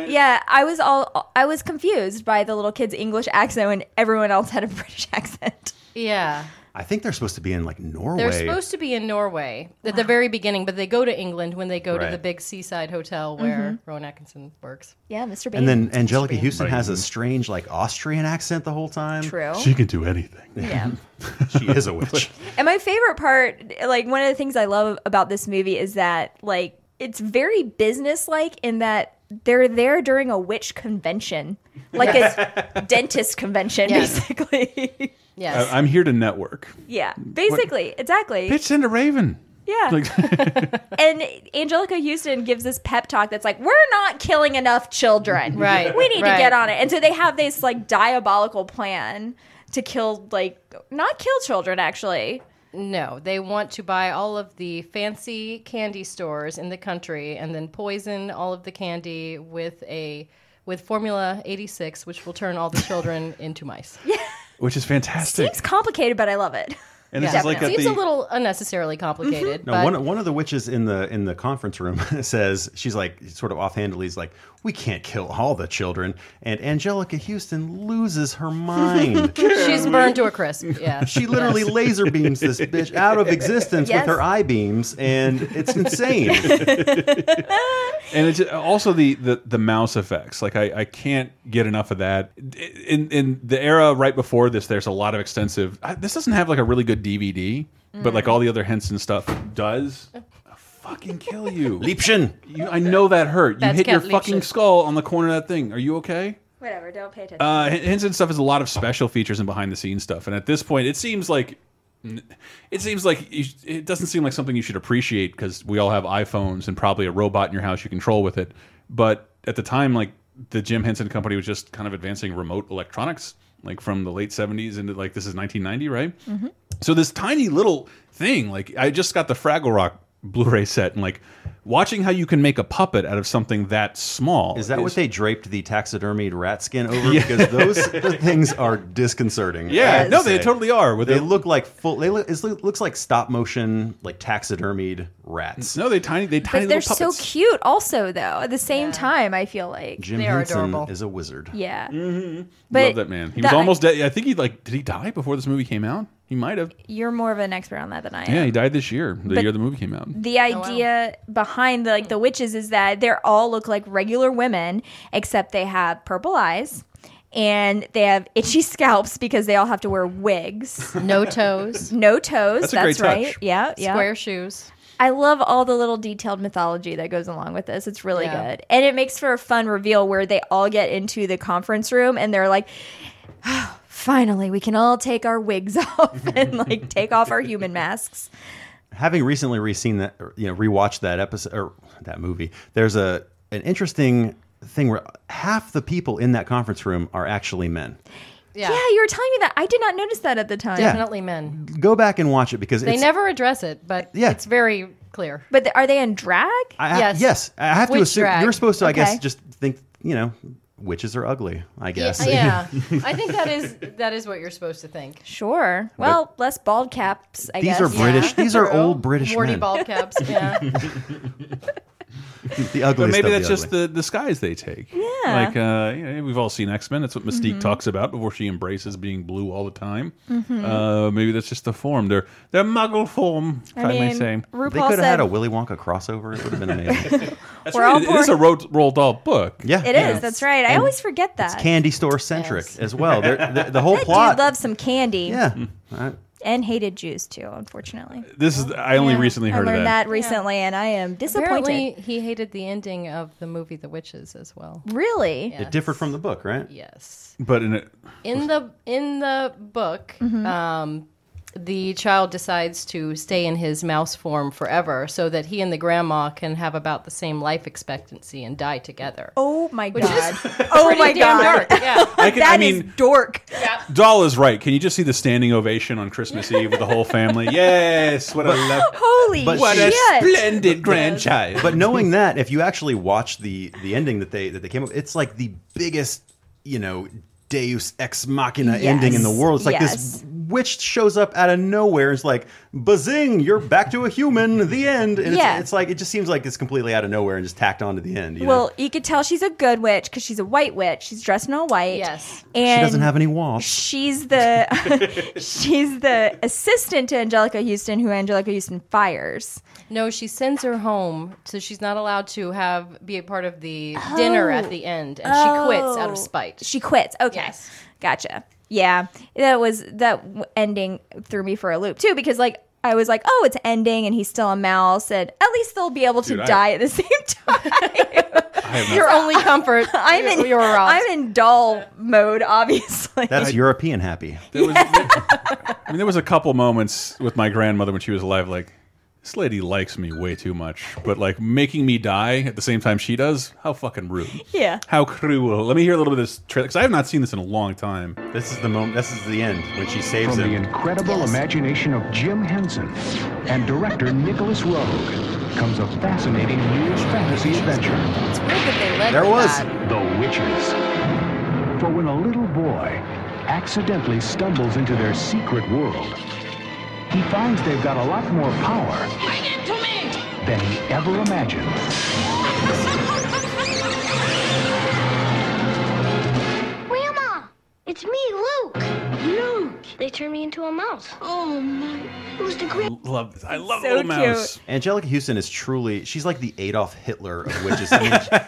S2: Yeah, I was all I was confused by the little kid's English accent when everyone else had a British <laughs> accent.
S5: Yeah.
S3: <laughs> I think they're supposed to be in like Norway.
S5: They're supposed to be in Norway at the very beginning, but they go to England when they go to
S3: Right.
S5: the big seaside hotel where Rowan Atkinson works.
S2: Mm-hmm. Yeah, Mr.
S3: and then Angelica Houston has a strange like Austrian accent the whole time.
S2: True.
S1: She can do anything.
S2: Yeah.
S3: <laughs> she is a witch.
S2: And my favorite part, like one of the things I love about this movie is that like it's very businesslike in that they're there during a witch convention,
S1: <laughs>
S2: like a dentist convention,
S5: Yes.
S2: basically.
S5: <laughs> Yes.
S1: I, am here to network.
S2: yeah, basically, exactly.
S1: Bitch, send a raven.
S2: Yeah.
S1: Like,
S2: <laughs>
S1: <laughs>
S2: and Angelica Houston gives this pep talk that's like, "We're not killing enough children.
S5: Right,
S2: We need
S5: right.
S2: to get on it." And so they have this like diabolical plan to kill, like, not kill children actually.
S5: No, they want to buy all of the fancy candy stores in the country and then poison all of the candy with a with formula 86 which will turn all the
S2: <laughs>
S5: children into mice. Yeah.
S1: which is fantastic.
S2: It's complicated, but I love it.
S1: And this is like at the-
S5: seems
S1: Mm-hmm.
S5: a little unnecessarily complicated,
S3: No,
S5: but
S3: one one of the witches in the in the conference room <laughs> says she's like sort of offhandedly is like, we can't kill all the children, and Angelica Houston loses her mind.
S5: <laughs>
S1: <laughs>
S5: she's burned to a crisp. Yeah.
S3: <laughs> She literally
S5: Yes.
S3: laser beams this bitch out of existence
S5: Yes.
S3: with her eye beams, and it's <laughs> insane.
S1: and it's uh, also the, the the mouse effects. Like I, I can't get enough of that. In in the era right before this, there's a lot of extensive. I, this doesn't have like a really good DVD, but like all the other Henson stuff does. I'll Fucking kill you,
S3: Liebchen.
S1: You, I know that hurt. You
S2: That's
S1: hit your
S2: Cat Liebchen.
S1: fucking skull on the corner of that thing. Are you okay?
S2: Whatever, don't pay attention.
S1: Uh, Hen- Henson stuff is a lot of special features and behind the scenes stuff, and at this point, it seems like it seems like you, sh- it doesn't seem like something you should appreciate because we all have iPhones and probably a robot in your house you control with it. But at the time, like the Jim Henson Company was just kind of advancing remote electronics, like from the late '70s into like this is 1990, right?
S5: mm-hmm.
S1: So this tiny little thing, like I just got the Fraggle Rock Blu-ray set, and like watching how you can make a puppet out of something that small.
S3: Is that what they draped the taxidermied rat skin over?
S1: Yeah.
S3: Because those things are disconcerting. I
S1: Yeah,
S3: have to
S1: no, they
S3: say.
S1: totally are. With
S3: They
S1: their-
S3: look like full. They look, it looks like stop motion, like taxidermied rats.
S1: No, they tiny. They tiny
S2: but they're
S1: little
S2: so
S1: puppets.
S2: cute, also though. At the same time, I feel like
S3: Jim
S2: they
S3: Henson
S2: are adorable.
S3: is a wizard.
S2: yeah,
S1: <laughs> Mm-hmm. Love
S2: but
S1: that man. He
S2: the-
S1: was almost dead. I think he like did he die before this movie came out? He might have.
S2: you're more of an expert on that than I am.
S1: Yeah, he died this year, the
S2: But-
S1: year the movie came out.
S2: the
S5: Oh,
S2: idea behind the, like the witches is that they're all look like regular women except they have purple eyes and they have itchy <laughs> scalps because they all have to wear wigs
S5: No toes.
S2: <laughs> no toes that's,
S5: That's a great touch.
S2: right yeah yeah
S5: Square shoes.
S2: I love all the little detailed mythology that goes along with this. It's really
S5: Yeah.
S2: good. And it makes for a fun reveal where they all get into the conference room and they're like, "Oh, finally, we can all take our wigs <laughs> off and like take off our human masks.
S3: having recently re-seen that, or, you know, rewatched that episode or that movie. There's a an interesting thing where half the people in that conference room are actually men.
S2: Yeah. you were telling me that. I did not notice that at the time.
S3: Yeah.
S5: Definitely men.
S3: Go back and watch it because
S5: They
S3: it's,
S5: never address it, but
S3: Yeah.
S5: it's very clear.
S2: But are they in drag?
S3: I, yes. yes, I have to
S5: Witch
S3: assume
S5: drag.
S3: you're supposed to. I guess
S5: Okay.
S3: just think you know, witches are ugly. I guess. <laughs>
S5: Yeah, I think that is that is what you're supposed to think.
S2: Sure. <laughs> Well, less bald caps, I
S3: These
S2: guess.
S3: are British. These are old British
S5: Warty
S3: men.
S5: bald caps. Yeah.
S3: the ugly.
S1: But maybe
S3: stuff,
S1: that's
S3: the
S1: just the disguise they take. Yeah. Like uh, you know, we've all seen X Men. That's what Mystique
S2: Mhm.
S1: talks about before she embraces being blue all the time.
S2: Mhm.
S1: Uh, maybe that's just the form. Their their Muggle form. If
S2: I
S1: I, may
S2: mean,
S1: say.
S2: RuPaul
S3: They could have had
S2: said-
S3: a Willy Wonka crossover. It would have been amazing.
S1: That's
S2: We're
S1: right.
S2: all
S1: It is a
S2: born-
S1: Ro- Roald Dahl book.
S3: yeah,
S2: It is. That's right. I always forget that.
S3: candy store centric as well. They're, they the
S2: <laughs>
S3: whole
S2: that
S3: plot.
S2: dude loved some candy.
S3: yeah.
S1: Mm.
S3: I-
S2: And hated Jews too, unfortunately.
S1: This is. I only recently
S2: I
S1: heard of
S2: learned
S1: that.
S2: that, recently, and I am <laughs> disappointed.
S5: Apparently, he hated the ending of the movie The Witches as well.
S2: Really?
S5: Yes.
S3: It differed from the book, right?
S5: Yes.
S1: But in it,
S5: In the in the book,
S2: Mm-hmm.
S5: um, the child decides to stay in his mouse form forever, so that he and the grandma can have about the same life expectancy and die together.
S2: Oh my
S5: Which
S2: <laughs> god!
S5: is
S2: oh
S5: pretty
S2: my
S5: damn
S2: god!
S5: dark,
S2: <laughs>
S5: yeah.
S1: I can- I
S2: That is
S1: mean-
S2: dork.
S1: Dahl is right. Can you just see the standing ovation on
S2: <laughs>
S1: Christmas Eve with the whole family? Yes, what a
S3: <laughs>
S1: love.
S2: Holy
S3: But
S1: what
S3: shit.
S1: a splendid grandchild.
S3: But knowing that, if you actually watch the the ending that they that they came up, it's like the biggest, you know, Deus ex machina
S2: Yes.
S3: ending in the world. It's like
S2: Yes.
S3: this witch shows up out of nowhere. It's like bazing, you're back to a human. The end. And
S2: Yeah.
S3: it's, it's like it just seems like it's completely out of nowhere and just tacked on to the end. You
S2: well,
S3: know?
S2: you could tell she's a good witch because she's a white witch. She's dressed in all white.
S5: Yes.
S2: And
S3: she doesn't have any walls.
S2: She's the <laughs> she's the assistant to Angelica Houston, who Angelica Houston fires.
S5: No, she sends her home, so she's not allowed to have be a part of the dinner
S2: Oh.
S5: at the end, and she quits out of
S2: Oh.
S5: spite.
S2: She quits. Okay, gotcha. Yeah, that was that w- ending threw me for a loop too because like I was like, oh, it's ending, and he's still a mouse, and at least they'll be able to
S1: Dude, I-
S2: die at the <laughs> same
S5: Your only comfort.
S2: <laughs> I'm in
S5: You're aroused.
S2: I'm in doll mode, obviously.
S3: That's
S5: <laughs>
S1: I-
S3: European happy.
S1: There was, I mean, there was a couple moments with my grandmother when she was alive, like this lady likes me way too much, but like making me die at the same time she does, how fucking rude.
S2: Yeah.
S1: How cruel. Let me hear a little bit of this trailer because I have not seen this in a long time.
S3: This is the moment. This is the end when she saves
S10: From the
S3: him.
S10: incredible imagination of Jim Henson and director Nicholas Rogue comes a fascinating year's fantasy adventure,
S5: It's weird that they led
S10: There
S5: with
S10: was.
S5: that.
S10: The Witches. For when a little boy accidentally stumbles into their secret world, he finds they've got a lot more power than he ever imagined.
S13: Grandma, it's me, Luke. Luke. They turned me into a mouse. Oh my! It was the great.
S1: Love this. I love
S13: So
S1: Little
S13: cute.
S1: Mouse.
S3: Angelica Houston is truly she's like the Adolf Hitler
S1: <laughs>
S3: of witches. I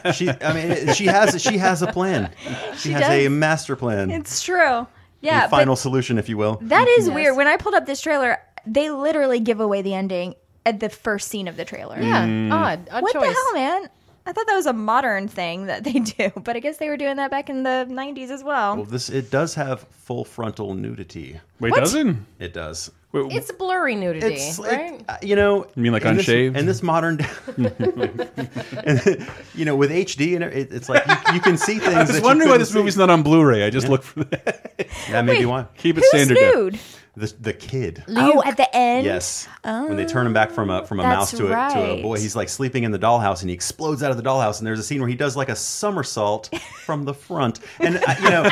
S3: mean, she I mean she has she has a plan. She,
S2: She
S3: has
S2: does.
S3: a master plan.
S2: It's true. Yeah,
S3: the final solution if you will.
S2: but that is
S5: Yes.
S2: weird. When I pulled up this trailer, they literally give away the ending at the first scene of the trailer.
S5: Yeah, Mm. odd- odd
S2: what the
S5: choice.
S2: hell, man? I thought that was a modern thing that they <laughs> do, but I guess they were doing that back in the '90s as well.
S3: Well, this it does have full frontal nudity.
S1: Wait, What? does it?
S3: It does.
S5: It's blurry nudity,
S3: It's like-
S5: right?
S3: Uh, you know,
S1: You mean like
S3: in this-
S1: unshaved?
S3: in this modern, and, <laughs> you know, with HD and it, it's like you, you can see things.
S1: <laughs> I was
S3: that you
S1: wondering why
S3: couldn't
S1: this
S3: see.
S1: movie's not on Blu-ray. I just looked
S3: <laughs>
S1: for that.
S3: That may be why.
S1: Keep it standard. def.
S2: nude?
S3: The the kid.
S2: Oh, at the end.
S3: Yes.
S2: Oh,
S3: when they turn him back from a from a mouse
S2: That's
S3: to a to a
S2: right.
S3: boy, he's like sleeping in the dollhouse, and he explodes out of the dollhouse. And there's a scene where he does like a somersault from the front. And I, you know,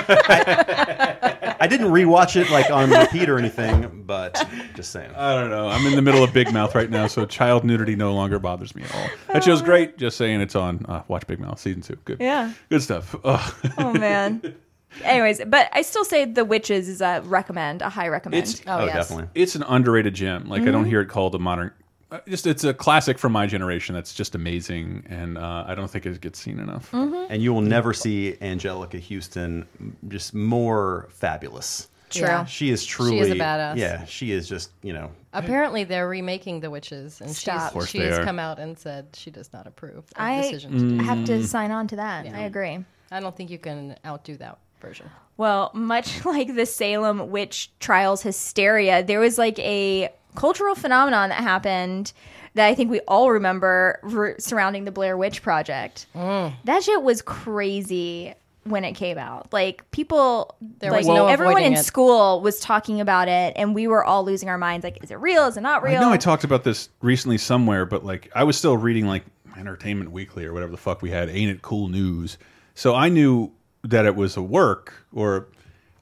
S3: I, I didn't rewatch it like on repeat or anything, but just saying.
S1: I don't know. I'm in the middle of Big Mouth right now, so child nudity no longer bothers me at all. That show's great. Just saying, it's on. Uh, watch Big Mouth season two. Good.
S2: Yeah.
S1: Good stuff. Ugh.
S3: <laughs>
S2: Oh man. Anyways, but I still say The Witches is a recommend, a high recommend.
S1: It's
S3: oh,
S1: It's an underrated gem. Like I don't
S2: Mhm.
S1: hear it called a modern. uh, Just it's a classic from my generation. That's just amazing, and uh, I don't think it gets seen enough.
S2: Mhm.
S3: And you will never see Angelica Houston just more fabulous.
S5: True. Yeah.
S3: She is
S5: She is a
S3: truly
S5: badass.
S3: Yeah, she is just you know.
S5: Apparently, they're remaking The Witches, and
S2: Stop. Of
S5: she's,
S3: course
S5: she
S3: they
S5: has
S3: are.
S5: come out and said she does not approve of the
S2: I
S5: decision. Mm. To do that.
S2: have
S3: Mm.
S2: to sign on to that. I agree.
S5: I don't think you can outdo that version.
S2: Well, much <laughs> like the Salem witch trials hysteria, there was like a cultural phenomenon that happened that I think we all remember r- surrounding the Blair Witch Project. That shit was crazy when it came out. Like people,
S5: There
S2: like
S5: was no
S2: everyone
S5: avoiding
S2: in
S5: it.
S2: school was talking about it, and we were all losing our minds. Like, is it real? Is it not real?
S1: I know I talked about this recently somewhere, but like I was still reading like Entertainment Weekly or whatever the fuck we had, Ain't It Cool News. So I knew that it was a work or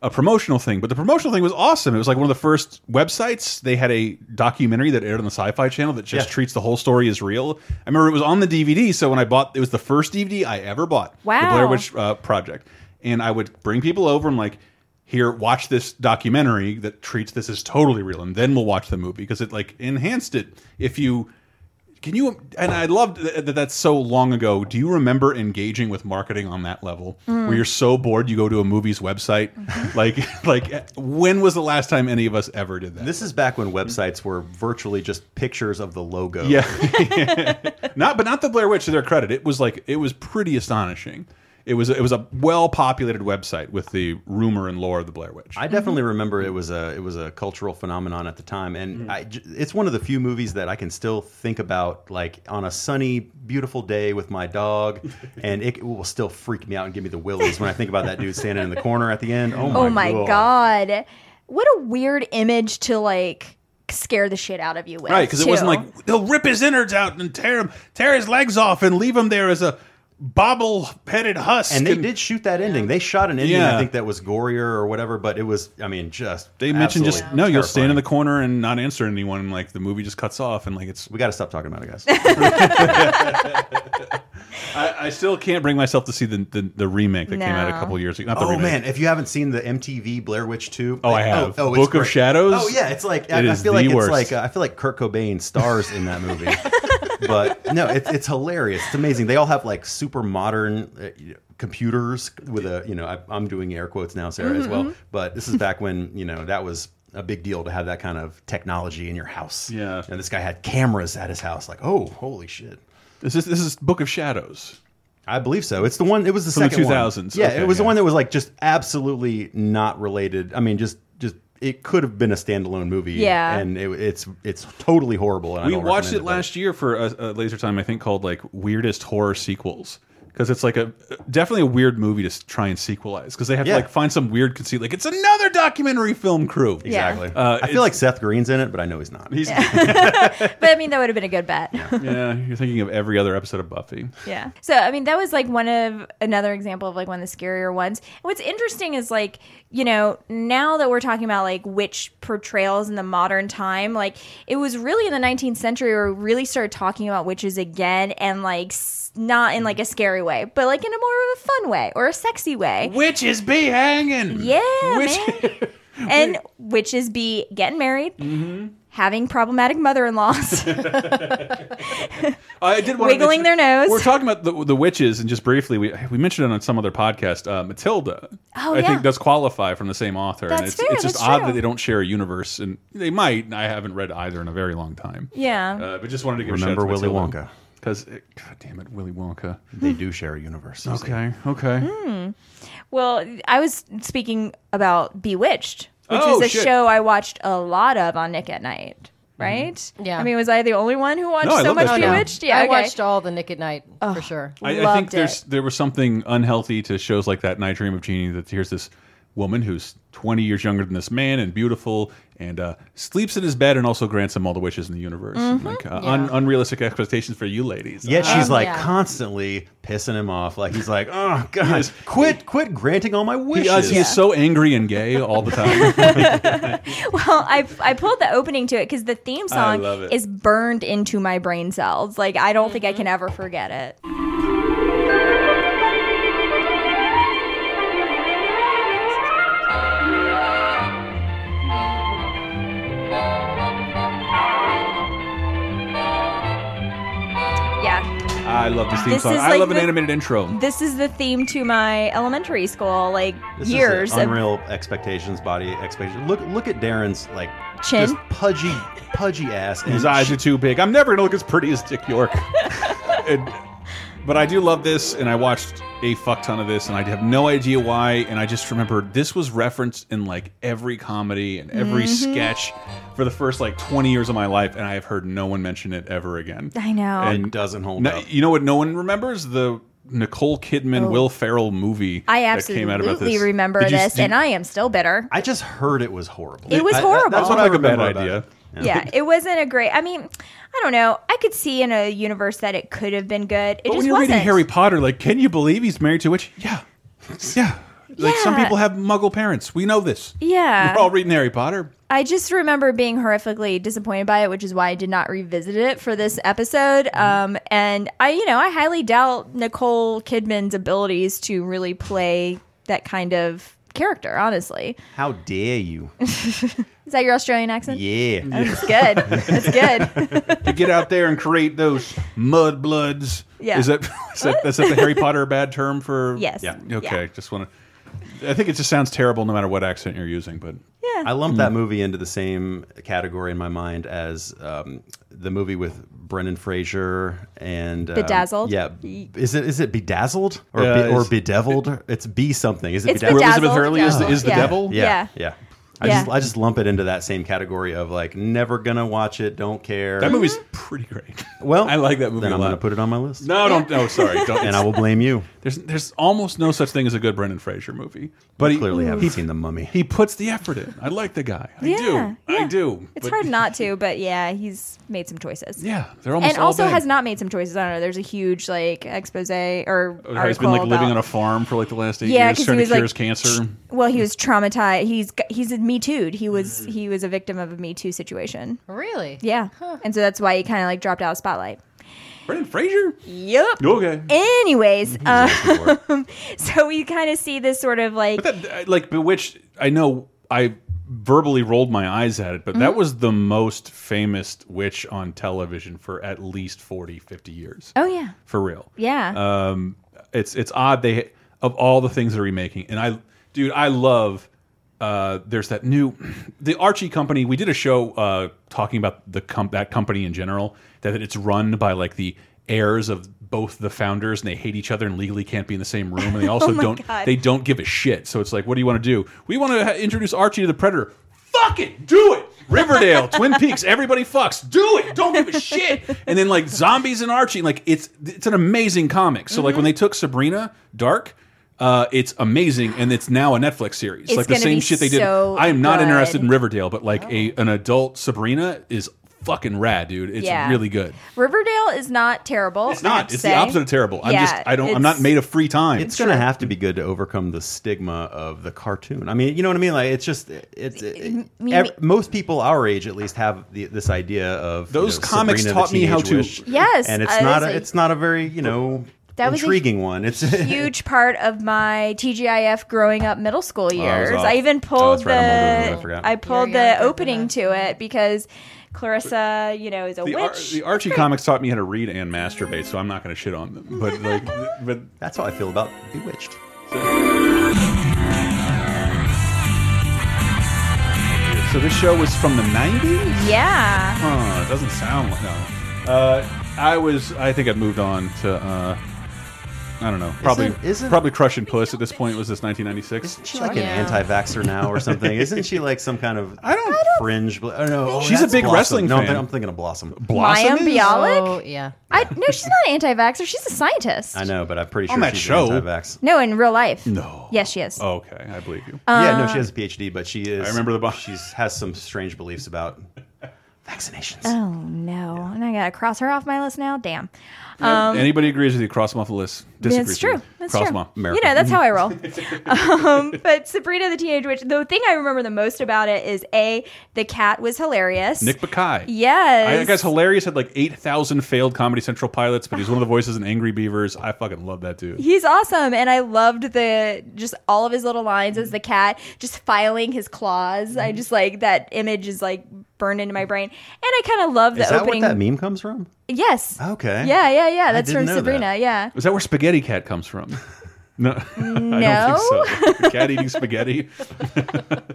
S1: a promotional thing, but the promotional thing was awesome. It was like one of the first websites. They had a documentary that aired on the Sci Fi channel that just
S3: Yeah.
S1: treats the whole story as real. I remember it was on the DVD, so when I bought it was the first DVD I ever bought. The
S2: Wow.
S1: Blair Witch uh, Project. And I would bring people over and like, here, watch this documentary that treats this as totally real, and then we'll watch the movie because it like enhanced it. If you can you, and I loved that that that's so long ago. Do you remember engaging with marketing on that level
S3: Mm.
S1: where you're so bored you go to a movie's website? <laughs> Like, like when was the last time any of us ever did that?
S3: This is back when websites were virtually just pictures of the logo.
S1: Yeah. <laughs> not but not the Blair Witch to their credit. It was like it was pretty astonishing. It was it was a well populated website with the rumor and lore of the Blair Witch.
S3: I definitely remember it was a it was a cultural phenomenon at the time, and I j it's one of the few movies that I can still think about like on a sunny, beautiful day with my dog, and it will still freak me out and give me the willies when I think about that dude standing in the corner at the end. Oh my,
S2: Oh my
S3: God.
S2: god. What a weird image to like scare the shit out of you with.
S1: right, because it wasn't
S2: too.
S1: like they'll rip his innards out and tear him, tear his legs off and leave him there as a bobble headed husk.
S3: And they did shoot that ending. They shot an ending,
S1: Yeah.
S3: I think that was gorier or whatever, but it was, I mean, just
S1: They mentioned just no. You'll stand in the corner and not answer anyone. And like the movie just cuts off, and like it's
S3: we got to stop talking about it, guys.
S1: <laughs> I, I still can't bring myself to see the the, the remake that came out a
S2: No.
S1: couple years ago. Not the
S3: Oh
S1: remake.
S3: man, if you haven't seen the MTV Blair Witch 2,
S1: Oh, I
S3: like,
S1: have.
S3: it's
S1: Book of
S3: great.
S1: Shadows?
S3: Oh yeah, it's like I,
S1: It
S3: I
S1: is
S3: feel
S1: the
S3: like
S1: worst.
S3: it's like uh, I feel like Kurt Cobain stars in that movie.
S1: <laughs>
S3: but no, it's it's hilarious. It's amazing. They all have like super modern uh, computers with a you know I, I'm doing air quotes now, Sarah as
S1: Mhm,
S3: well.
S1: mhm.
S3: But this is back when you know that was a big deal to have that kind of technology in your house. Yeah, and this guy had cameras at his house. Like oh holy shit.
S1: This is this is Book of Shadows.
S3: I believe so. It's the one. It was the
S1: From the
S3: second one.
S1: 2000s.
S3: Yeah,
S1: Okay,
S3: it was the
S1: yeah.
S3: one that was like just absolutely not related. I mean, just just it could have been a standalone movie.
S1: Yeah.
S3: and it, it's it's totally horrible. And I
S1: we
S3: don't
S1: watched it
S3: recommend
S1: last year for a, a laser time i think called like weirdest horror sequels because it's like a definitely a weird movie to s- try and sequelize because they have
S3: Yeah.
S1: to like find some weird conceit like it's another documentary film crew
S3: it. Exactly.
S1: uh,
S3: I feel like Seth Green's in it, but I know he's not.
S1: He's-
S2: but I mean that would have been a good
S1: <laughs>
S2: bet.
S1: yeah you're thinking of every other episode of buffy
S2: Yeah. So I mean that was like one of another example of like one of the scarier ones. And what's interesting is like, you know, now that we're talking about like witch portrayals in the modern time, like it was really in the 19th century where we really started talking about witches again and like s- not in like a scary way, but like in a more of a fun way or a sexy way.
S1: Witches be hanging.
S2: Yeah,
S1: <laughs>
S2: man. and witches be
S1: Mm-hmm. <laughs>
S2: getting married, having problematic mother-in-laws.
S1: I did want
S2: Wiggling
S1: to
S2: their nose.
S1: We're talking about the, the witches, and just briefly, we we mentioned it on some other podcast. Uh, Matilda,
S2: Oh,
S1: I
S2: yeah.
S1: think, does qualify from the same author, and
S2: That's
S1: it's
S2: fair,
S1: it's just
S2: that's
S1: odd
S2: true.
S1: that they don't share a universe, and they might. and I haven't read either in a very long time.
S2: Yeah.
S1: uh, but just wanted to give
S3: Remember
S1: a shout out to
S3: Willy
S1: Matilda.
S3: Wonka.
S1: Because, God damn it, Willy Wonka.
S3: They do share a universe. you see.
S1: Okay, okay.
S2: Hmm. Well, I was speaking about Bewitched, which
S1: Oh,
S2: is a
S1: shit. Mm-hmm.
S2: show I watched a lot of on Nick at Night. Right? Yeah. I mean, was I the only one who watched
S1: No, I
S2: so
S1: love
S2: much
S1: that show.
S2: Bewitched? Yeah,
S5: I
S2: okay.
S5: watched all the Nick at Night for sure.
S1: I, I think there's there was something unhealthy to shows like that, and I Dream of Jeannie. That here's this woman who's 20 years younger than this man and beautiful, and uh, sleeps in his bed, and also grants him all the wishes in the universe.
S3: Mhm.
S1: Like, uh, un unrealistic expectations for you ladies.
S3: Yet she's like
S1: yeah.
S3: constantly pissing him off. Like he's like, oh god, quit, quit granting all my
S1: He,
S3: wishes.
S1: is, he is so angry and gay all the
S2: <laughs>
S1: time.
S2: well, I I pulled the opening to it because the theme
S1: I
S2: song
S1: love it.
S2: is burned into my brain cells. Like I don't think I can ever forget it. Yeah.
S1: I love this theme
S2: This
S1: song.
S2: is
S1: I
S2: like
S1: love an
S2: the-
S1: animated intro.
S2: This is the theme to my elementary school like
S3: This is
S2: years
S3: it. unreal expectations, body expectations. Look, look at Darren's like
S2: Chin?
S3: just pudgy, pudgy ass.
S1: His
S3: and
S1: eyes are too big. I'm never gonna look as pretty as Dick
S2: <laughs>
S1: York. And- but I do love this, and I watched a fuck ton of this, and I have no idea why. And I just remember this was referenced in like every comedy and every
S2: Mhm.
S1: sketch for the first like 20 years of my life, and I have heard no one mention it ever again.
S2: I know.
S3: It doesn't hold up.
S1: You know what? No one remembers the Nicole Kidman,
S2: Oh.
S1: Will Ferrell movie
S2: I
S1: that came out about
S2: absolutely
S1: this.
S2: remember
S1: Did you-
S2: this,
S1: did-
S2: and I am still bitter.
S3: I just heard it was horrible.
S2: It was
S3: I- that-
S2: horrible.
S3: that's what I
S1: Sounds like a bad
S3: remember about
S1: idea.
S3: it.
S2: yeah, it wasn't a great. I mean, I don't know. I could see in a universe that it could have been good. It
S1: But when
S2: just
S1: Oh, you're
S2: wasn't.
S1: reading Harry Potter, like, can you believe he's married to a witch? Yeah, yeah. Like some
S2: Yeah.
S1: people have muggle parents. We know this.
S2: Yeah.
S1: We're all reading Harry Potter.
S2: I just remember being horrifically disappointed by it, which is why I did not revisit it for this episode.
S1: Mm-hmm.
S2: Um, and I, you know, I highly doubt Nicole Kidman's abilities to really play that kind of character. Honestly,
S3: How dare you?
S2: is that your Australian
S1: <laughs>
S2: accent?
S3: Yeah.
S2: Oh, that's good. That's good.
S1: to get out there and create those mudbloods.
S2: Yeah.
S1: Is that is that, is that the Harry Potter bad term for?
S2: Yes.
S1: Yeah.
S2: Yeah.
S1: Okay. Just want to. I think it just sounds terrible no
S3: <laughs>
S1: matter what accent you're using, but Mm-hmm.
S2: Yeah.
S3: I lump that movie into the same category in my mind as um, the movie with Brendan Fraser and um,
S2: Bedazzled?
S3: Yeah, is it is it bedazzled or
S1: Yeah,
S3: Be-
S1: it's-
S3: or bedeviled? it's be something. Is it
S2: It's
S3: bedazzled?
S2: Where Elizabeth Bedazzled, Hurley is the- is the yeah. devil?
S3: Yeah,
S2: Yeah.
S3: yeah. I
S2: Yeah.
S3: just I just lump it into that same category of like never gonna watch it, don't care.
S1: that movie's pretty great.
S3: well. I
S1: like that movie
S3: Then
S1: a
S3: I'm
S1: lot.
S3: gonna put it on my list.
S1: No, don't. No, sorry. Don't.
S3: And I will blame you.
S1: There's there's almost no such thing as a good Brendan Fraser movie. But
S3: But
S1: he
S3: clearly haven't
S1: he,
S3: seen the Mummy.
S1: he puts the effort in. I like the guy. I
S2: Yeah,
S1: do. I do.
S2: It's
S1: But-
S2: hard
S1: <laughs>
S2: not to, but yeah, he's made some choices.
S1: Yeah, they're almost
S2: and
S1: all
S2: also
S1: bad.
S2: has not made some choices. I don't know. There's a huge like expose or
S1: Or he's Oh, been like
S2: article
S1: living
S2: about-
S1: on a farm for like the last eight
S2: Yeah,
S1: years,
S2: 'cause he
S1: trying to
S2: was,
S1: cure
S2: like,
S1: his cancer.
S2: Well, he was traumatized. He's g- he's a Me Too'd. He was
S1: Mm-hmm.
S2: he was a victim of a Me Too situation.
S5: Really?
S2: Yeah, and so that's why he kind of like dropped out of spotlight.
S1: Brendan Fraser.
S2: Yep.
S1: Okay.
S2: Anyways, um, <laughs> so we kind of see this sort of like
S1: I- like Bewitched, I know I verbally rolled my eyes at it, but that
S2: Mhm.
S1: was the most famous witch on television for at least 40, 50 years.
S2: oh yeah
S1: For real.
S2: yeah
S1: Um, it's it's odd they of all the things they're remaking, and I, dude, I love. Uh, there's that new, <clears throat> the Archie company. We did a show uh, talking about the com that company in general. That it's run by like the heirs of both the founders, and they hate each other and legally can't be in the same
S14: <laughs>
S1: room. And they also
S14: Oh my
S1: don't
S14: God.
S1: they don't give a shit. So it's like, what do you want to do? We want to ha- introduce Archie to the Predator. Fuck it, do it.
S14: <laughs>
S1: Riverdale, Twin Peaks, everybody fucks. Do it. Don't give a shit. And then like zombies and Archie, like it's it's an amazing comic. So like when they took Sabrina Dark, uh, it's amazing, and it's now a Netflix series.
S14: It's
S1: like the
S14: gonna
S1: same
S14: be
S1: shit they did.
S14: so
S1: I am not
S14: good. Oh.
S1: interested in Riverdale, but like a an adult Sabrina is fucking rad, dude. It's
S2: Yeah.
S1: really good.
S2: Riverdale is not terrible.
S1: It's not. It's the opposite of terrible. I'm just. I don't. I'm not made of free time.
S3: It's going to have to be good to overcome the stigma of the cartoon. I mean, you know what I mean? Like it's just it's it, e,
S2: me-
S3: ev- most people our age at least have the, this idea of you
S1: Those
S3: know,
S1: comics
S3: Sabrina the
S1: taught me how
S3: Teenage
S1: to-
S3: Witch.
S2: Yes,
S3: and it's
S2: I
S3: not
S2: was
S3: a,
S2: like-
S3: it's not a very you know
S2: That was a
S3: intriguing one. It's <laughs>
S2: huge part of my TGIF growing up middle
S3: I
S2: school
S3: was
S2: years.
S3: off.
S2: I even
S3: Oh,
S2: pulled
S3: that's right, I'm older than you, I
S2: the
S3: forgot.
S2: I pulled
S3: You're
S2: the opening to it because Clarissa, you know, is a
S1: The, Ar-
S2: witch.
S1: the Archie comics taught me how to read and masturbate, so I'm not going to shit on them. But <laughs> like, but
S3: that's how I feel about Bewitched.
S1: So this show was from the 90s.
S2: yeah.
S1: Huh, it doesn't sound like no. Uh, I was. I think I moved on to. Uh, I don't know. Probably
S3: Isn't- isn't-
S1: probably crushing puss at this point. Was this 1996?
S3: She's like an anti-vaxxer now
S1: <laughs>
S3: or something, isn't she? Like some kind of
S1: I don't
S3: fringe. Bl- oh, no, oh,
S1: She's a
S3: that's
S1: big
S3: Blossom.
S1: wrestling
S3: No, I'm,
S1: fan.
S3: thi- I'm thinking of Blossom.
S2: Mayim Bialik?
S3: Oh,
S5: yeah.
S2: I no, she's not an anti-vaxxer. She's a scientist.
S3: I know, but I'm pretty
S1: On
S3: sure
S1: that
S3: she's
S1: show?
S3: anti-vax. Oh,
S2: No, in real life.
S1: No.
S2: Yes, she is.
S1: Okay, I believe you.
S3: yeah, no,
S2: Uh,
S3: she has a PhD, but she is. I remember the. She's has some strange beliefs <laughs> about vaccinations.
S2: Oh no! And I gotta cross her off my list now. Damn. Um,
S1: Anybody agrees with you? Cross them off the list. Disagrees
S2: That's true.
S1: With you.
S2: That's
S1: cross
S2: true.
S1: Them off. Mm.
S2: You know, that's how I roll.
S1: <laughs>
S2: um, but Sabrina the Teenage Witch. The thing I remember the most about it is a the cat was hilarious.
S1: Nick Bakay.
S2: Yes.
S1: I guess hilarious had like eight thousand failed Comedy Central pilots, but he's one of the voices in Angry Beavers. I fucking love that dude.
S2: He's awesome, and I loved the just all of his little lines as the cat just filing his claws.
S1: Mm-hmm.
S2: I just like that image is like burned into my brain, and I kind of love the
S3: Is that
S2: opening.
S3: what that meme comes from?
S2: Yes.
S3: Okay.
S2: Yeah, yeah, yeah.
S3: I
S2: That's
S3: didn't
S2: from
S3: know
S2: Sabrina.
S3: that.
S1: <laughs>
S2: Yeah.
S1: Is that where Spaghetti Cat comes
S3: <laughs>
S1: from? No, <laughs>
S2: No.
S1: I don't think so. <laughs> Cat eating spaghetti.
S2: Um,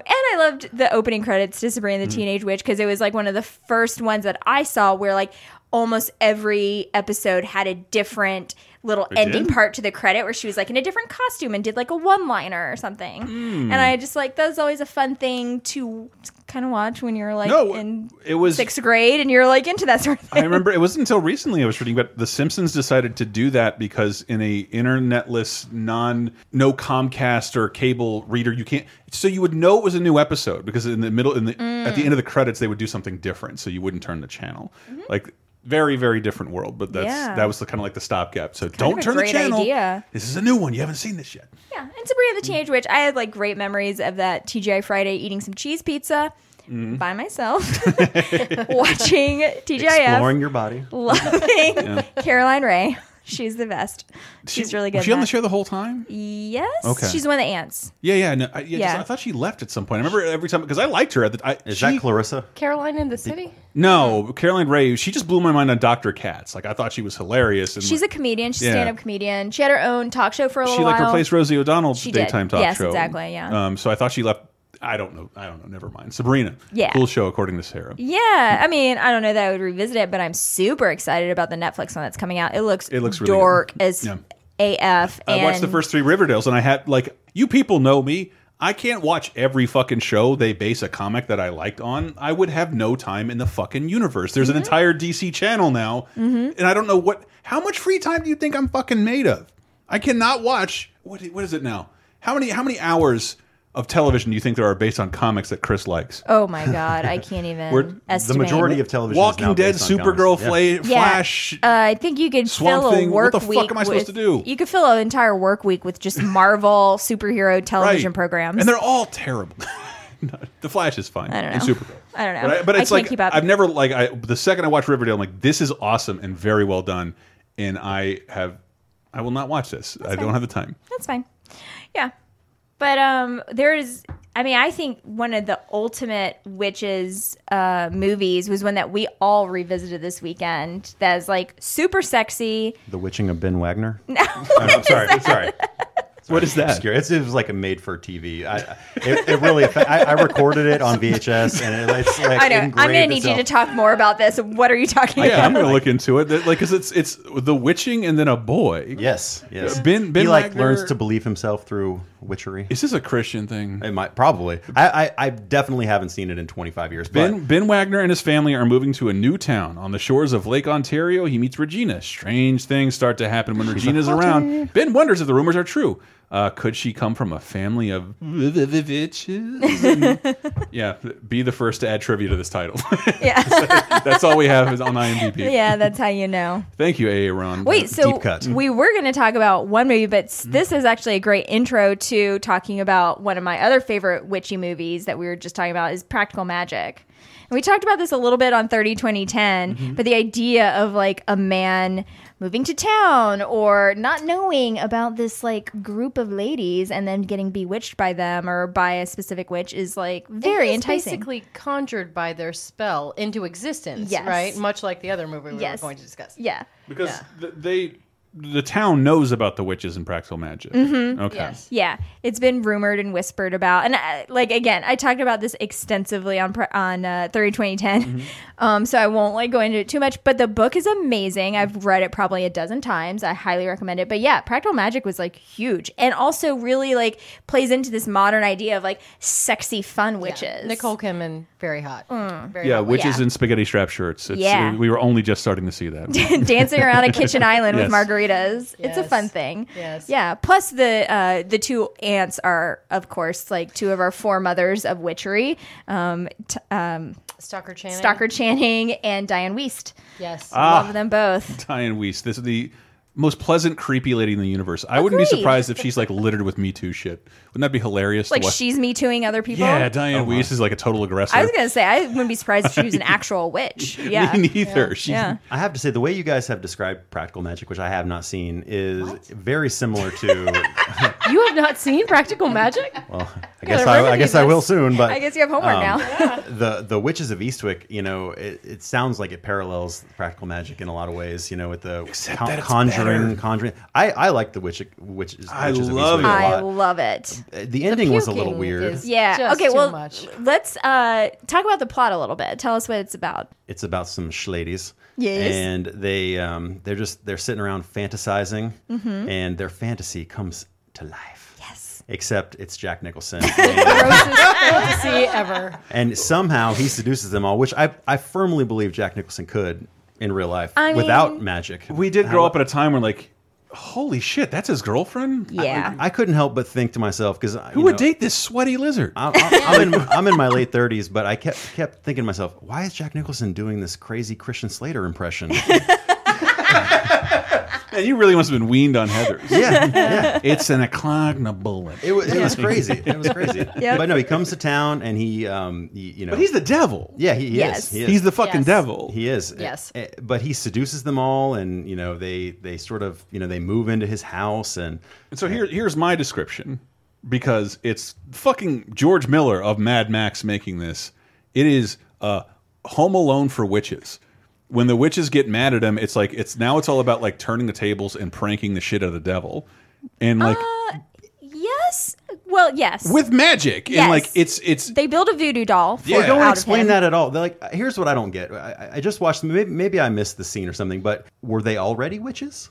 S2: and I loved the opening credits to Sabrina
S1: Mm.
S2: the Teenage Witch because it was like one of the first ones that I saw where like almost every episode had a different little
S5: It
S2: ending
S5: did?
S2: part to the credit where she was like in a different costume and did like a one liner or something.
S1: Hmm.
S2: And I just like that was always a fun thing to kind of watch when you're like
S1: No,
S2: in
S1: it was-
S2: sixth grade and you're like into that sort of thing.
S1: I remember it wasn't until recently I was reading, but The Simpsons decided to do that because in a internetless, non no Comcast or cable reader, you can't. So you would know it was a new episode because in the middle, in the at the end of the credits, they would do something different, so you wouldn't turn the channel. Like very very different world, but that's
S2: Mm-hmm. Yeah.
S1: that was the kind of like the stopgap. So
S2: Kind
S1: don't
S2: of a
S1: turn the
S2: great
S1: channel.
S2: idea.
S1: This is a new one. You haven't seen this yet.
S2: <laughs> Yeah, and Sabrina the Teenage Witch. I had like great memories of that TGI Friday eating some cheese pizza
S3: Mm-hmm.
S1: Mhm.
S2: by myself,
S1: <laughs>
S2: <laughs> watching TGIF,
S3: Exploring your body.
S2: loving
S1: Yeah.
S2: Caroline Ray. She's the best. She's really good.
S1: Was she
S2: in
S1: on the
S2: that.
S1: show the whole time?
S2: Yes.
S1: Okay.
S2: She's one of the ants.
S1: Yeah, yeah, no, I, yeah, just-
S2: Yeah.
S1: I thought she left at some point. I remember every time because I liked her. At the, I, Is that
S3: Clarissa?
S5: Caroline in the City?
S1: No, Caroline Ray. She just blew my mind on Doctor Katz. Like I thought she was hilarious. And
S2: She's a
S1: like,
S2: comedian. She's a
S1: Yeah.
S2: stand-up comedian. She had her own talk show for a little
S1: she like
S2: while.
S1: replaced Rosie O'Donnell's
S2: She did.
S1: daytime talk
S2: Yes,
S1: show.
S2: exactly, yeah.
S1: Um, so I thought she left. I don't know. I don't know. Never mind. Sabrina.
S2: Yeah.
S1: Cool show according to Sarah.
S2: Yeah, I mean, I don't know that I would revisit it, but I'm super excited about the Netflix one that's coming out. It looks
S1: It looks really good.
S2: dork as
S1: Yeah.
S2: AF.
S1: I watched the
S2: and-
S1: first three Riverdales, and I had like you people know me. I can't watch every fucking show they base a comic that I liked on. I would have no time in the fucking universe. There's
S2: Mm-hmm.
S1: an entire DC channel now,
S5: Mm-hmm.
S1: and I don't know what. How much free time do you think I'm fucking made of? I cannot watch. What what is it now? How many how many hours of television do you think there are based on comics that Chris likes?
S2: Oh my god, I
S1: <laughs>
S2: can't even.
S1: We're- the
S2: estimate.
S1: majority of television is Walking now Dead, based on Supergirl, comics. Fla-
S2: Yeah.
S1: Flash,
S2: Uh, I think you could
S1: Swamp
S2: fill
S1: Thing.
S2: a
S1: What
S2: work
S1: the fuck
S2: week.
S1: am I supposed
S2: with-
S1: to do?
S2: You could fill an entire work week
S1: <laughs>
S2: with just Marvel superhero television
S1: Right.
S2: programs.
S1: and they're all terrible. <laughs> No, the Flash is fine.
S2: I don't
S1: And
S2: know.
S1: Supergirl.
S2: I don't know.
S1: But, I, but
S2: I
S1: it's
S2: can't
S1: like
S2: keep up.
S1: I've never like I the second I watch Riverdale, I'm like, this is awesome and very well done, and I have I will not watch this. I don't
S2: fine.
S1: have the time.
S2: That's fine. Yeah. But um there is I mean, I think one of the ultimate witches uh movies was one that we all revisited this weekend that is like super sexy.
S3: The Witching of Ben Wagner.
S2: <laughs> No.
S3: I'm sorry.
S2: <laughs>
S3: I'm sorry. What is that? It's, it was like a made for TV. I, I- it, it
S2: <laughs>
S3: really. I, I recorded it on VHS, and it, it's like
S2: I know. I'm
S3: engraved
S2: gonna need you
S3: itself.
S2: to talk more about this. What are you talking
S1: yeah, I'm
S2: about?
S1: going to look into it. Like, because it's it's the witching and then a boy. Uh,
S3: Yes, yes.
S1: Ben, ben
S3: he like
S1: Wagner-
S3: learns to believe himself through witchery.
S1: Is this a Christian thing?
S3: It might probably. I, I, I definitely haven't seen it in 25 years. But
S1: Ben, ben Wagner and his family are moving to a new town on the shores of Lake Ontario. He meets Regina. Strange things start to happen when Regina's around. Ben wonders if the rumors are true. Uh, could she come from a family of bitches? yeah, be the first to add trivia to this title. <laughs> yeah, that's all we have is on IMDb.
S2: Yeah, that's how you know.
S1: Thank you, A. Ron. Uh,
S2: Wait, so we were going to talk about one movie, but s- this is actually a great intro to talking about one of my other favorite witchy movies that we were just talking about is Practical Magic. And we talked about this a little bit on 30 2010, but the idea of like a man moving to town or not knowing about this like group of ladies and then getting bewitched by them or by a specific witch is like very
S5: It is
S2: enticing.
S5: Basically conjured by their spell into existence,
S2: Yes.
S5: right? Much like the other movie we
S2: Yes.
S5: were going to discuss.
S2: Yeah.
S1: Because th- they, the town knows about the witches in Practical Magic.
S2: Mhm.
S1: Okay.
S2: Yeah, it's been rumored and whispered about, and I, like again, I talked about this extensively on pre- on uh, thirty twenty ten,
S15: Mm-hmm.
S2: <laughs> um, so I won't like go into it too much. But the book is amazing. I've read it probably a dozen times. I highly recommend it. But yeah, Practical Magic was like huge, and also really like plays into this modern idea of like sexy fun witches. Mm.
S5: Nicole Kidman, very hot. Very
S1: Yeah,
S5: hot.
S1: witches in spaghetti strap shirts. It's,
S2: Yeah.
S1: We were only just starting to see that.
S2: <laughs> dancing around a kitchen island
S1: Yes.
S2: with margaritas. It's a
S5: Yes.
S2: fun thing.
S5: Yes.
S2: Yeah. Plus the uh, the two aunts are, of course, like two of our foremothers of witchery. Um, t- um,
S5: Stalker Channing.
S2: Stalker Channing and Diane Weist.
S5: Yes.
S1: Ah.
S2: Love them both.
S1: Diane Weiss. This is the most pleasant, creepy lady in the universe. I wouldn't be
S2: Agreed.
S1: surprised if she's like littered with Me Too shit. Wouldn't that be hilarious? to
S2: Like
S1: watch?
S2: she's me tooing other people.
S1: Yeah, Diane Weiss is like a total aggressor.
S2: I was gonna say I wouldn't be surprised if she was an
S1: <laughs>
S2: actual witch. Yeah. Yeah. yeah.
S3: I have to say, the way you guys have described practical magic, which I have not seen, is very similar
S5: <laughs>
S3: to.
S5: You have not seen Practical Magic?
S3: well, I
S5: Yeah,
S3: guess
S5: the
S3: I, I
S5: remedy
S3: guess I
S5: is-
S3: will soon. But um,
S5: I guess you have homework <laughs> now. Yeah.
S3: The the witches of Eastwick, you know, it, it sounds like it parallels practical magic in a lot of ways. You know, with the
S1: Except
S3: con-
S1: that it's
S3: conjuring,
S1: better.
S3: conjuring. I I like the witch witches.
S1: I
S3: witches
S1: love
S3: of Eastwick
S2: I
S3: a lot.
S2: love it.
S3: Uh, The ending was a little
S5: puking
S3: weird.
S5: is-
S2: Yeah.
S5: Just
S2: okay.
S5: too
S2: Well,
S5: much.
S2: let's uh, talk about the plot a little bit. Tell us what it's about.
S3: it's about some schladies.
S2: Yes.
S3: And they um they're just they're sitting around fantasizing,
S2: Mhm.
S3: and their fantasy comes to life.
S2: Yes.
S3: Except it's Jack Nicholson.
S5: Grossest fantasy ever.
S3: And somehow he seduces them all, which I, I firmly believe Jack Nicholson could in real life
S2: I mean-
S3: without magic.
S1: We did grow up at a time where like, holy shit, that's his girlfriend.
S2: Yeah.
S3: I couldn't help but think to myself because
S1: Who would date this sweaty lizard?
S3: I, I, am in, I'm in my late 30s, but I kept kept thinking to myself, why is Jack Nicholson doing this crazy Christian Slater
S1: <laughs>
S3: impression?
S1: Man, you really must have been weaned on Heather.
S3: Yeah, yeah.
S1: It's an aclognabullin.
S3: It was, it was
S1: <laughs>
S3: crazy. It was crazy.
S1: Yep.
S3: But no, he comes to town and he, um, he- you know,
S1: But he's the devil.
S3: Yeah, he, he
S1: Yes.
S3: is. He is.
S1: He's the fucking Yes. devil.
S3: He is.
S5: Yes.
S3: Eh, But he seduces them all, and you know, they they sort of, you know, they move into his house, and
S1: And so here, here's my description because it's fucking George Miller of Mad Max making this. It is uh, Home Alone for witches. When the witches get mad at him, it's like it's now it's all about like turning the tables and pranking the shit out of the devil, and like
S2: Ah, Yes. Well, yes.
S1: with magic
S2: Yes.
S1: and like it's it's
S2: they build a voodoo doll. For
S3: They don't
S2: out
S3: explain
S2: of him.
S3: that at all. They're like, "Uh, here's what I don't get. I, I- I just watched. Maybe, maybe I missed the scene or something. But were they already witches?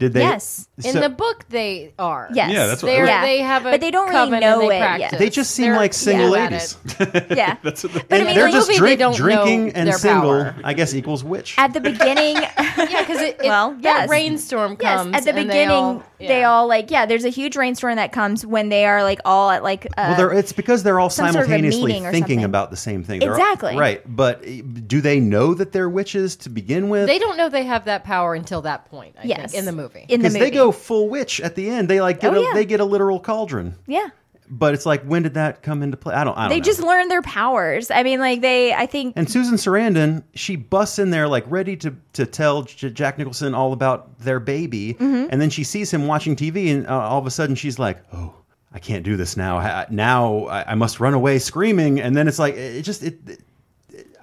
S3: Did they?
S5: yes. In
S3: So-
S5: the book, they are.
S2: Yes.
S3: Yeah, that's what-
S5: They're-
S2: Yeah.
S5: They have a
S2: But they don't really
S5: coven and
S2: know
S5: they
S2: it yet.
S5: practice.
S3: They just seem
S5: They're-
S3: like single
S5: yeah.
S3: ladies. <laughs>
S2: Yeah.
S1: That's what
S2: But I
S3: And
S2: mean,
S3: they're
S2: like,
S3: just
S2: movie, they
S3: drink-
S2: don't know
S3: drinking and
S2: their
S3: single.
S2: power. Uh,
S3: I guess equals witch.
S2: At the
S5: <laughs>
S2: beginning,
S5: yeah, because it,
S2: well,
S5: that
S2: yes.
S5: rainstorm comes
S2: Yes, at the
S5: and
S2: beginning,
S5: they
S2: they all,
S5: all-
S2: like yeah. There's a huge rainstorm that comes when they are like all at like. Uh,
S3: well, they're, it's because they're all
S2: some sort of a
S3: simultaneously
S2: meeting or
S3: thinking
S2: something.
S3: about the same thing. They're all-
S2: Exactly.
S3: right, but eh, do they know that they're witches to begin with?
S5: They don't know they have that power until that point, I
S2: Yes.
S5: think, in the movie.
S3: Because they go full witch at the end. They like get
S2: Oh,
S3: a,
S2: yeah.
S3: they get a literal cauldron.
S2: yeah.
S3: But it's like, when did that come into play? I don't. I don't
S2: They
S3: know.
S2: just learn their powers. I mean, like they. I think
S3: And Susan Sarandon, she busts in there like ready to to tell J- Jack Nicholson all about their baby,
S2: Mhm.
S3: and then she sees him watching TV, and uh, all of a sudden she's like, "Oh, I can't do this now. I, I- now I, I must run away screaming." And then it's like, it just it. it-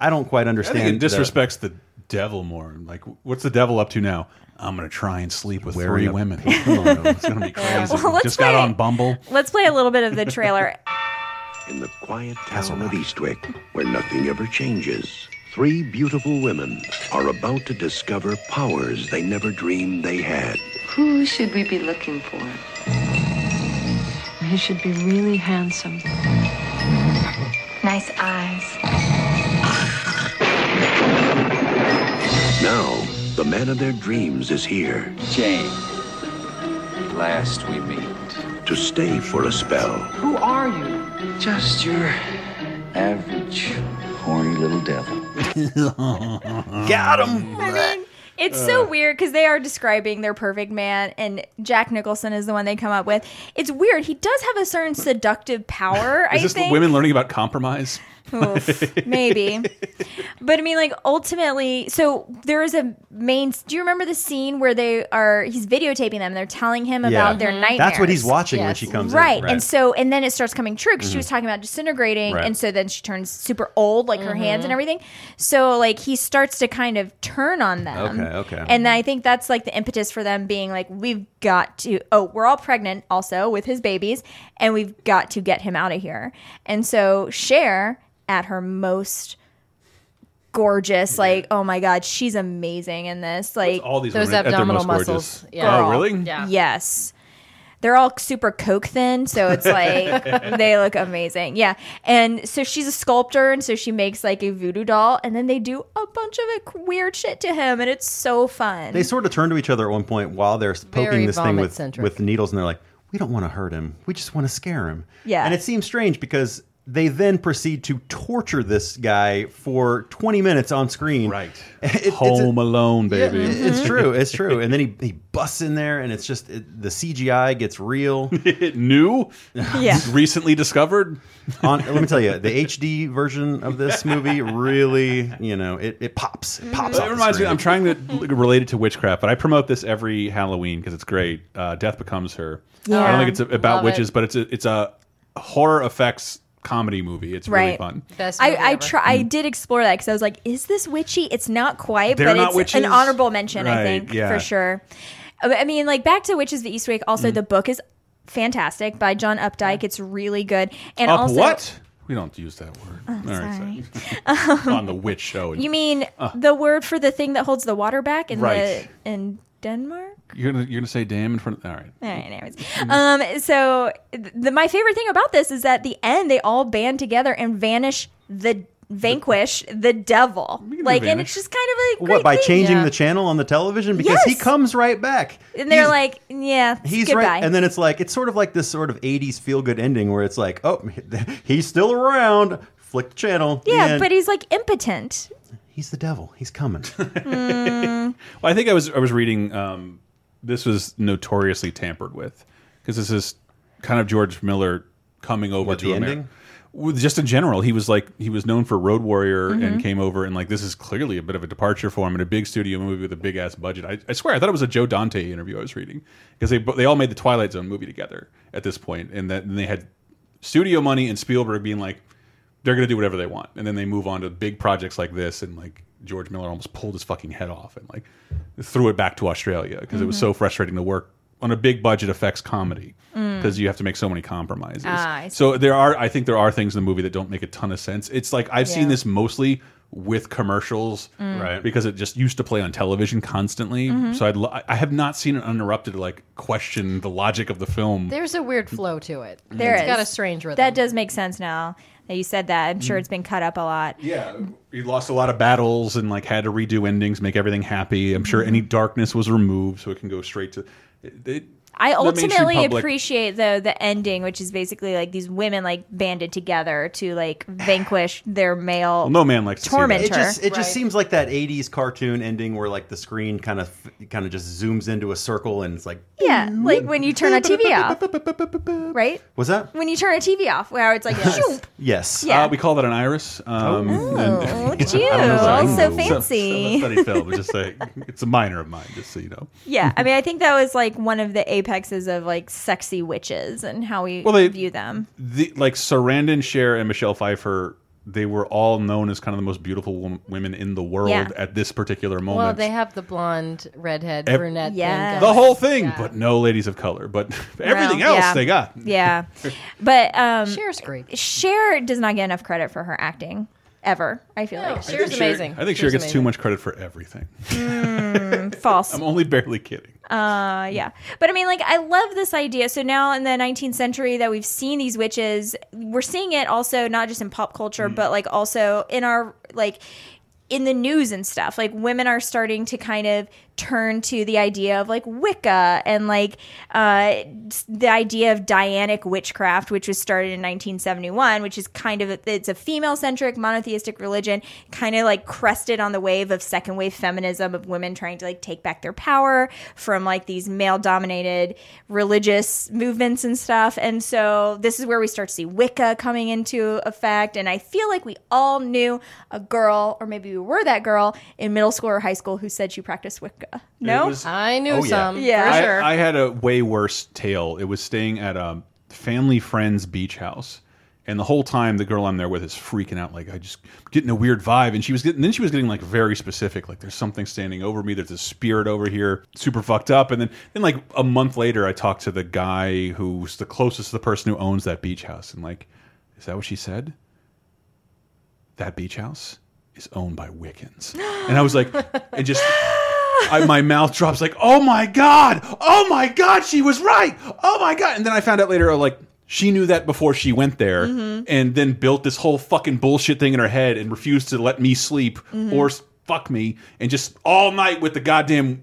S3: I don't quite
S1: I
S3: understand.
S1: think it
S3: the-
S1: disrespects the devil more. Like, what's the devil up to now? I'm gonna try and sleep with
S3: Wearing
S1: three
S3: a
S1: women. <laughs>
S3: pink kimono.
S1: it's gonna be crazy.
S2: Well, let's
S1: Just got
S2: play-
S1: on Bumble.
S2: let's play a little bit of
S3: <laughs>
S2: the trailer.
S11: In the quiet town of Eastwick, where nothing ever changes, three beautiful women are about to discover powers they never dreamed they had.
S14: Who should we be looking for? He should be really handsome.
S15: Nice eyes.
S11: Now, the man of their dreams is here. Jane, last we meet. To stay for a spell.
S14: Who are you? Just your
S11: Average, horny little devil.
S3: <laughs> Got him.
S2: I mean, It's so
S1: Uh.
S2: weird because they are describing their perfect man, and Jack Nicholson is the one they come up with. It's weird. He does have a certain seductive power. I
S1: Is this
S2: think
S1: women learning about compromise? <laughs>
S3: <laughs>
S2: Oof, maybe, but I mean, like ultimately, so there is a main. Do you remember the scene where they are? He's videotaping them, and they're telling him
S3: Yeah.
S2: about their
S3: Mhm.
S2: nightmares.
S3: That's what he's watching when Yes. she comes in,
S2: right.
S3: right.
S2: And so, and then it starts coming true because she was
S3: Mhm.
S2: talking about disintegrating,
S3: Right. Mm-hmm.
S2: and so then she turns super old, like her hands
S5: Mhm.
S2: and everything. So, like he starts to kind of turn on them.
S3: Okay, okay.
S2: And I think that's like the impetus for them being like, we've got to, oh, we're all pregnant also with his babies, and we've got to get him out of here. And so Cher, at her most gorgeous, like, oh my God, she's amazing in this. Like,
S1: all these Those women at their abdominal most muscles, gorgeous? yeah. Oh, really? Yeah.
S2: Yes. They're all super coke thin, so
S1: <laughs>
S2: it's like they look amazing. Yeah. And so she's a sculptor, and so she makes like a voodoo doll, and then they do a bunch of like, weird shit to him, and it's so fun.
S3: They sort of turn to each other at one point while they're poking
S2: Very
S3: this thing with
S2: vomit-centric.
S3: with needles, and they're like, "We don't want to hurt him. We just want to scare him."
S2: Yeah.
S3: and it seems strange because they then proceed to torture this guy for 20 minutes on screen. <laughs> Right,
S1: Home Alone, baby.
S3: it's true. It's
S1: <laughs>
S3: true. And then he he busts in there, and it's just it, the CGI gets real.
S1: <laughs> New,
S2: Yeah.
S1: <laughs> recently discovered.
S3: On, let me tell you,
S1: <laughs>
S3: the HD version of this movie really, you know, it, it pops.
S2: Mm-hmm.
S3: It pops.
S1: Well,
S3: off
S1: it
S3: the
S1: reminds me.
S3: screen.
S1: I'm trying to relate it to witchcraft, but I promote this every Halloween because it's great. Uh, Death Becomes Her.
S2: Yeah.
S1: I don't think it's a- about
S2: Love
S1: witches,
S2: it.
S1: but it's a, it's a horror effects comedy movie. It's really fun.
S5: Best
S2: I
S5: movie
S2: I,
S5: ever.
S2: try, I did explore that because I was like, is this witchy? It's not quite,
S1: They're
S2: but
S1: not
S2: it's
S1: witches?
S2: an honorable mention, I
S1: Right,
S2: think,
S1: yeah.
S2: for sure. Uh, I mean, like back to Witches of the East Wake.
S1: Mm.
S2: Also, the book is fantastic by John Updike. It's really good. And
S1: Up
S2: also,
S1: what? We don't use that word.
S2: Oh,
S1: All right,
S2: sorry. <laughs>
S1: so- on the witch show.
S2: You mean
S1: Uh.
S2: the word for the thing that holds the water back in
S1: Right.
S2: the in Denmark?
S1: you're gonna you're gonna say damn in front? Of, all right.
S2: All right, anyways.
S3: Mm-hmm.
S2: Um, so th- the, my favorite thing about this is at the end they all band together and vanish the vanquish the devil. Like, and
S3: vanish.
S2: it's just kind of a great
S3: What by
S2: thing.
S3: changing the channel on the television because he
S2: Yes.
S3: comes right back.
S2: And they're like, yeah,
S3: He's
S2: goodbye.
S3: right, and then it's like it's sort of like this sort of '80s feel good ending where it's like, oh, <laughs> he's still around. Flick the channel. The
S2: yeah,
S3: end.
S2: but he's like impotent. Hmm.
S3: he's the devil. He's coming.
S1: Well, I think I was I was reading. Um, this was notoriously tampered with because this is kind of George Miller coming over
S3: What,
S1: to
S3: the
S1: Ameri-
S3: ending?
S1: Well, Just in general, he was like he was known for Road Warrior and
S3: Mhm.
S1: came over and like this is clearly a bit of a departure for him in a big studio movie with a big ass budget. I, I swear I thought it was a Joe Dante interview I was reading because they bo- they all made the Twilight Zone movie together at this point and that and they had studio money and Spielberg being like they're going to do whatever they want. And then they move on to big projects like this. And like George Miller almost pulled his fucking head off and like threw it back to Australia because it was
S5: Mhm.
S1: so frustrating to work on a big budget effects comedy
S5: Mm.
S1: because you have to make so many compromises.
S5: Ah, I see.
S1: so there are, I think there are things in the movie that don't make a ton of sense. It's like I've seen
S5: Yeah.
S1: this mostly with commercials
S5: Mm. Right.
S1: because it just used to play on television constantly
S5: Mhm.
S1: so I'd lo I have not seen an uninterrupted like question the logic of the film
S5: <laughs> There's a weird flow to it.
S2: There
S5: It's
S2: is.
S5: got a strange rhythm.
S2: That does make sense now that you said that. I'm sure
S3: Mm-hmm.
S1: Mhm.
S2: it's been cut up a lot.
S1: Yeah, he lost a lot of battles and like had to redo endings, make everything happy. I'm sure
S2: Mm-hmm.
S1: any darkness was removed, so it can go straight to. It, it-
S2: I
S1: the mainstream
S2: ultimately
S1: public-
S2: appreciate though the ending, which is basically like these women like banded together to like vanquish their male.
S1: Well, no man likes to see that.
S2: tormentor.
S3: It just it just seems like that '80s cartoon ending where like the screen kind of kind of just zooms into a circle and it's like,
S2: yeah, like when you turn a TV
S3: <laughs>
S2: off, right?
S3: was that?
S2: When you turn a TV off, where it's like, shoop.
S3: Yes.
S2: Yeah.
S1: Uh, we call that an iris. Um,
S2: Oh,
S1: <laughs>
S2: look at you,
S1: I don't know if I
S2: all
S1: knew.
S2: so
S1: So,
S2: fancy.
S1: so I studied film, but just like,
S2: <laughs>
S1: it's a minor of mine, just so you know.
S2: yeah. I mean, I think that was like one of the apexes of like sexy witches and how we
S1: Well, they-
S2: view them.
S1: the like Sarandon, Cher, and Michelle Pfeiffer, they were all known as kind of the most beautiful wom women in the world
S5: Yeah.
S1: at this particular moment.
S5: Well, they have the blonde, redhead,
S1: Ev-
S5: brunette.
S2: Yes.
S5: thing
S1: the
S5: going.
S1: whole thing, but no ladies of color, but <laughs> everything
S2: Well,
S1: else
S2: yeah.
S1: they got. <laughs>
S2: Yeah, but um, Cher's
S5: great.
S2: Cher does not get enough credit for her acting ever. I feel like
S1: I think Cher- I think Cher gets too much credit for everything. <laughs>
S2: Mm, false.
S1: I'm only barely kidding.
S2: Uh, yeah. But I mean, like, I love this idea. So now in the 19th century that we've seen these witches, we're seeing it also not just in pop culture, but like also in our, like, in the news and stuff. Like, women are starting to kind of turn to the idea of like Wicca and like uh, s- the idea of Dianic witchcraft, which was started in 1971, which is kind of a, it's a female centric monotheistic religion, kind of like crested on the wave of second wave feminism of women trying to like take back their power from like these male dominated religious movements and stuff. And so this is where we start to see Wicca coming into effect. And I feel like we all knew a girl, or maybe we were that girl in middle school or high school who said she practiced Wicca. No,
S1: was-
S5: I knew
S1: Oh,
S5: some.
S2: Yeah.
S1: I,
S5: For sure.
S1: I had a way worse tale. It was staying at a family friend's beach house. And the whole time, the girl I'm there with is freaking out. Like I just getting a weird vibe, and she was getting. Then she was getting like very specific. Like there's something standing over me. There's a spirit over here, super fucked up. And then, then like a month later, I talked to the guy who's the closest to the person who owns that beach house, and like, is that what she said? That beach house is owned by Wiccans, and I was like, and just I, my mouth drops like, oh my god, oh my god, she was right, oh my god. And then I found out later, oh, like she knew that before she went there,
S2: Mm-hmm.
S15: Mhm.
S1: and then built this whole fucking bullshit thing in her head and refused to let me sleep
S2: Mm-hmm.
S15: Mhm.
S1: or s- fuck me, and just all night with the goddamn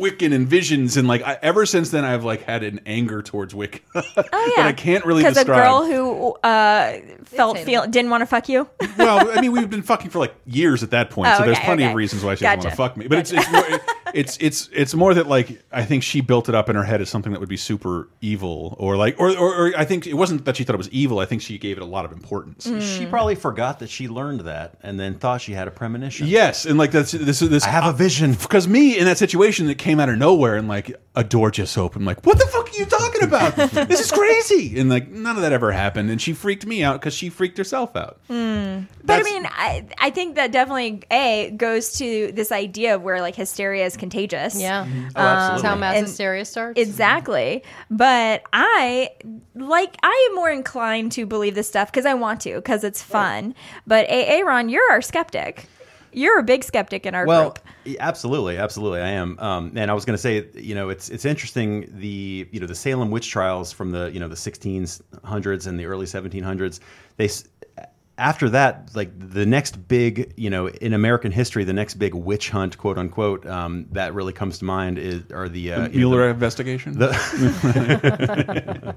S1: Wiccan and visions. And like, I, ever since then, I've like had an anger towards Wicca <laughs> that I can't really
S2: because Oh, a
S1: describe.
S2: girl who uh, felt feel didn't want to fuck you.
S1: well, I mean, we've been fucking for like years at that point,
S2: Oh,
S1: so there's
S2: okay,
S1: plenty
S2: okay.
S1: of reasons why she doesn't
S2: Gotcha.
S1: want to fuck me. But it's it's more, it's it's it's more that like I think she built it up in her head as something that would be super evil, or like, or or, or I think it wasn't that she thought it was evil. I think she gave it a lot of importance.
S3: Mm. She probably forgot that she learned that and then thought she had a premonition.
S1: Yes, and like that's this is this. I have a <laughs>
S3: vision
S1: because me in that situation that came out of nowhere and like a door just opened. Like what the fuck are you talking about?
S3: <laughs>
S1: this is crazy. And like none of that ever happened, and she freaked me out because she freaked herself out.
S2: Mm. But I mean, I, I think that definitely a goes to this idea of where like hysteria is contagious.
S5: Yeah. Mhm. Oh, absolutely. That's how mass hysteria starts.
S2: Um, Exactly. But I like I am more inclined to believe this stuff because I want to because it's fun. But AA Ron, you're our skeptic. You're a big skeptic in our
S3: well,
S2: group.
S3: y- absolutely, absolutely, I am. Um, and I was going to say, you know, it's it's interesting the you know the Salem witch trials from the you know the 1600s and the early 1700s. They s- after that, like the next big you know in American history, the next big witch hunt, quote unquote, um, that really comes to mind is are the, uh,
S1: The
S3: you know,
S1: Mueller investigation?
S3: The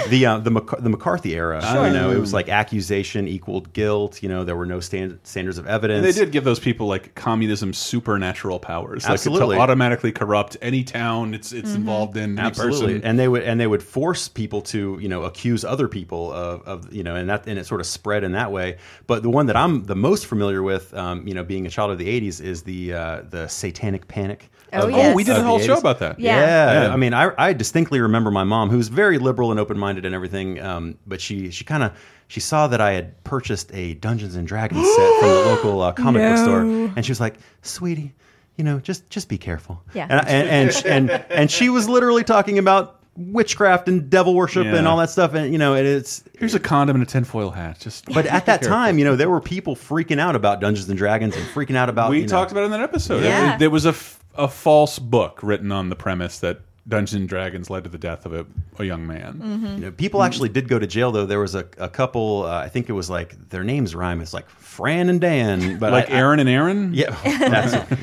S3: <laughs> the, uh, the, Mac- the McCarthy era,
S1: Sure.
S3: you know, it was like accusation equaled guilt. You know, there were no stand, standards of
S1: And
S3: evidence.
S1: they did give those people like communism supernatural powers,
S3: Absolutely.
S1: like to automatically corrupt any town it's
S3: Mm-hmm.
S1: it's involved in, any
S3: absolutely
S1: person.
S3: and they would and they would force people to you know accuse other people of, of you know and that and it sort of spread in that way but the one that i'm the most familiar with um, you know being a child of the 80s is the uh, the satanic panic
S1: Oh,
S3: of-
S1: yes. Oh, we did
S3: of
S1: a
S3: the
S1: whole show
S3: 80s.
S1: about that.
S3: Yeah.
S1: Yeah. Yeah.
S3: I mean, I, I distinctly remember my mom, who was very liberal and open minded and everything, um, but she she kind of she saw that I had purchased a Dungeons and Dragons set from the local uh, comic book store,
S6: No.
S3: and she was like, "Sweetie, you know, just just be careful."
S6: Yeah.
S3: And, and, and, and, and she was literally talking about witchcraft and devil worship
S1: Yeah.
S3: and all that stuff. And, you know, it, it's.
S1: Here's a condom and a tinfoil hat. Just.
S3: <laughs> But at that
S1: Careful.
S3: time, you know, there were people freaking out about Dungeons and Dragons and freaking out about.
S1: we
S3: you know-
S1: talked about it in that episode.
S3: Yeah.
S1: There- There was a, f- a false book written on the premise that Dungeons and Dragons led to the death of a, a young man. Mm.
S3: You know, people actually did go to jail, though. There was a, a couple, uh, I think it was like their names rhyme. It's like Fran and Dan. But
S1: Like
S3: I- I-
S1: Aaron and Aaron?
S3: Yeah. <laughs> that's-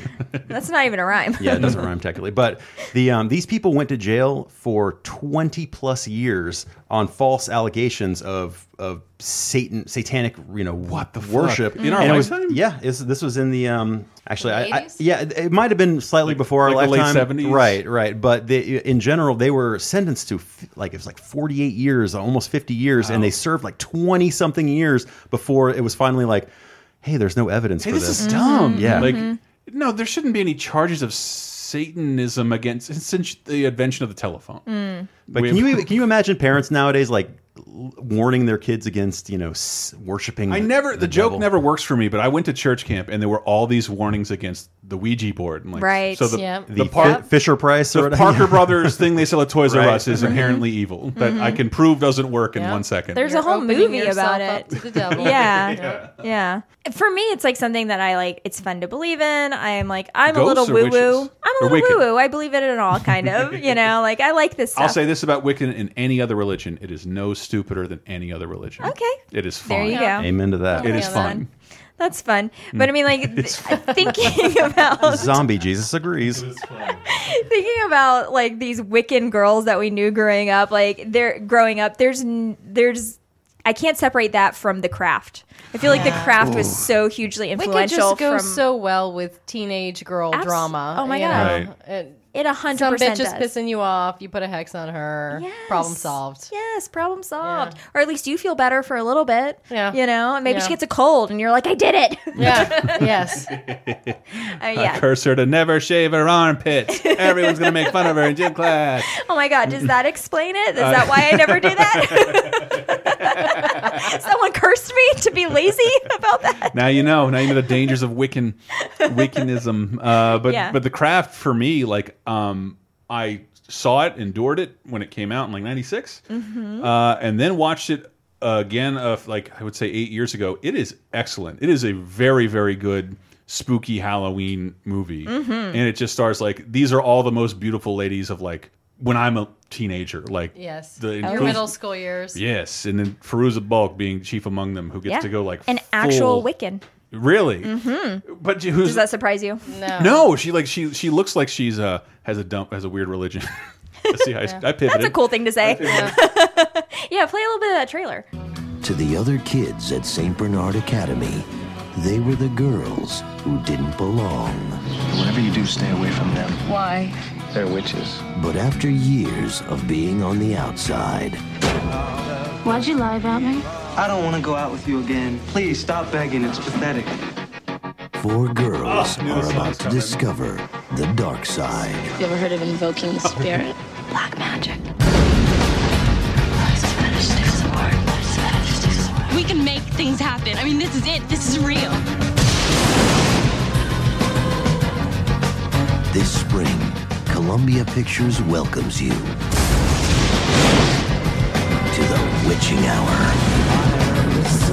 S2: That's not even a rhyme.
S3: <laughs> yeah, it doesn't rhyme technically. But the um, these people went to jail for 20 plus years on false allegations of of Satan, satanic, you know, what the worship.
S1: fuck? In our
S3: And it was-
S1: lifetime?
S3: Yeah. it's- this was in the, um, actually, I, I, yeah, it- it might have been slightly before our
S1: like the late
S3: lifetime.
S1: 70s?
S3: Right, right. But they, in general, they were sentenced to f- like, it was like 48 years, almost 50 years. And they served like 20 something years before it was finally like, hey, there's no evidence
S1: Hey,
S3: for
S1: this
S3: this.
S1: is dumb.
S3: Yeah.
S1: Like, no, there shouldn't be any charges of Satanism against since the invention of the telephone.
S3: But
S1: We-
S3: can you can you imagine parents nowadays like l- warning their kids against you know s- worshiping?
S1: I never the, joke <laughs> never works for me, but I went to church camp and there were all these warnings against the Ouija board. And like,
S2: Right,
S1: So the,
S2: yeah.
S1: the,
S3: The
S1: par-
S3: Fi- Fisher Price or
S1: the
S3: whatever.
S1: Parker
S3: <laughs>
S1: Brothers thing they sell at Toys R
S3: Right.
S1: Us is
S3: Mhm.
S1: inherently evil that I
S2: Mhm.
S1: can prove doesn't work in one second.
S2: There's a
S5: You're
S2: whole
S5: opening
S2: movie
S5: yourself
S2: about
S5: up
S2: it.
S5: to the devil.
S2: <laughs> yeah.
S5: Yeah.
S2: yeah. For me, it's like something that I like. It's fun to believe in. I'm like, I'm a
S1: Ghosts
S2: little
S1: or
S2: woo woo.
S1: witches?
S2: I'm a
S1: Or
S2: little
S1: Wiccan?
S2: woo woo. I believe in it all,
S1: <laughs>
S2: kind of. you know, like I like this stuff.
S1: I'll say this about Wiccan in any other religion: it is no stupider than any other religion.
S2: Okay.
S1: it is
S2: There
S1: fun.
S2: you go.
S3: Amen to that.
S1: It is fun. Mm.
S2: That's fun. But I
S1: <laughs>
S2: mean, like th- thinking about
S3: Zombie Jesus agrees.
S2: thinking about like these Wiccan girls that we knew growing up, like they're growing up. There's n- there's I can't separate that from the craft. I feel like the
S5: Yeah.
S2: craft
S5: Ooh.
S2: was so hugely
S5: Wicked just
S2: influential.
S5: goes
S2: from-
S5: so well with teenage girl
S2: Abs-
S5: drama.
S2: oh my
S5: you
S2: God.
S5: know? And
S2: It a hundred
S5: some
S2: percent
S5: bitch is
S2: does.
S5: pissing you off. You put a hex on her. Problem
S2: Yes.
S5: solved.
S2: Yes, problem solved. Or at least you feel better for a little bit.
S5: Yeah.
S2: You know, and maybe
S5: Yeah.
S2: she gets a cold and you're like, I did it. <laughs>
S5: Yeah.
S1: <laughs>
S5: yes.
S2: Uh, yeah.
S1: I curse her to never shave her
S2: <laughs>
S1: armpits. Everyone's gonna make fun of her in gym class.
S2: Oh my God, does that explain it? Is
S1: Uh,
S2: that why I never do
S1: <laughs>
S2: that? <laughs> Someone cursed me to be lazy about that.
S1: now you know. Now you know the dangers of Wiccan Wiccanism. Uh, but
S2: Yeah.
S1: but the craft for me, like um, I saw it, endured it when it came out in like '96,
S2: Mm-hmm.
S6: Mhm.
S1: uh, and then watched it again of like I would say eight years ago. It is excellent. It is a very very good spooky Halloween movie,
S2: Mm-hmm.
S6: Mhm.
S1: and it just stars like these are all the most beautiful ladies of like when I'm a teenager, like
S5: Yes.
S1: the
S5: Your
S1: including-
S5: middle school years.
S1: Yes, and then Feruza Balk being chief among them, who gets
S2: Yeah.
S1: to go like
S2: An actual
S1: full-
S2: Wiccan.
S1: Really?
S2: Mm-hmm.
S1: But you- who's
S2: Does that surprise you?
S1: No, she like she she looks like she's uh has a dump has a weird religion. <laughs> See, I, I pivoted.
S2: That's a cool thing to say. <laughs> Yeah. play a little bit of that trailer.
S15: To the other kids at St. Bernard Academy, they were the girls who didn't belong. Whatever you do, stay away from them.
S14: Why?
S15: They're witches. But after years of being on the outside,
S14: Why'd you lie about me?
S16: I don't want to go out with you again. Please stop begging. It's pathetic.
S15: four girls
S16: Oh, I knew this
S15: are
S16: was
S15: about to
S16: coming.
S15: discover the dark side.
S14: You ever heard of invoking the spirit? Black magic.
S17: We can make things happen. I mean, this is it. This is real.
S15: This spring, Columbia Pictures welcomes you to the witching hour.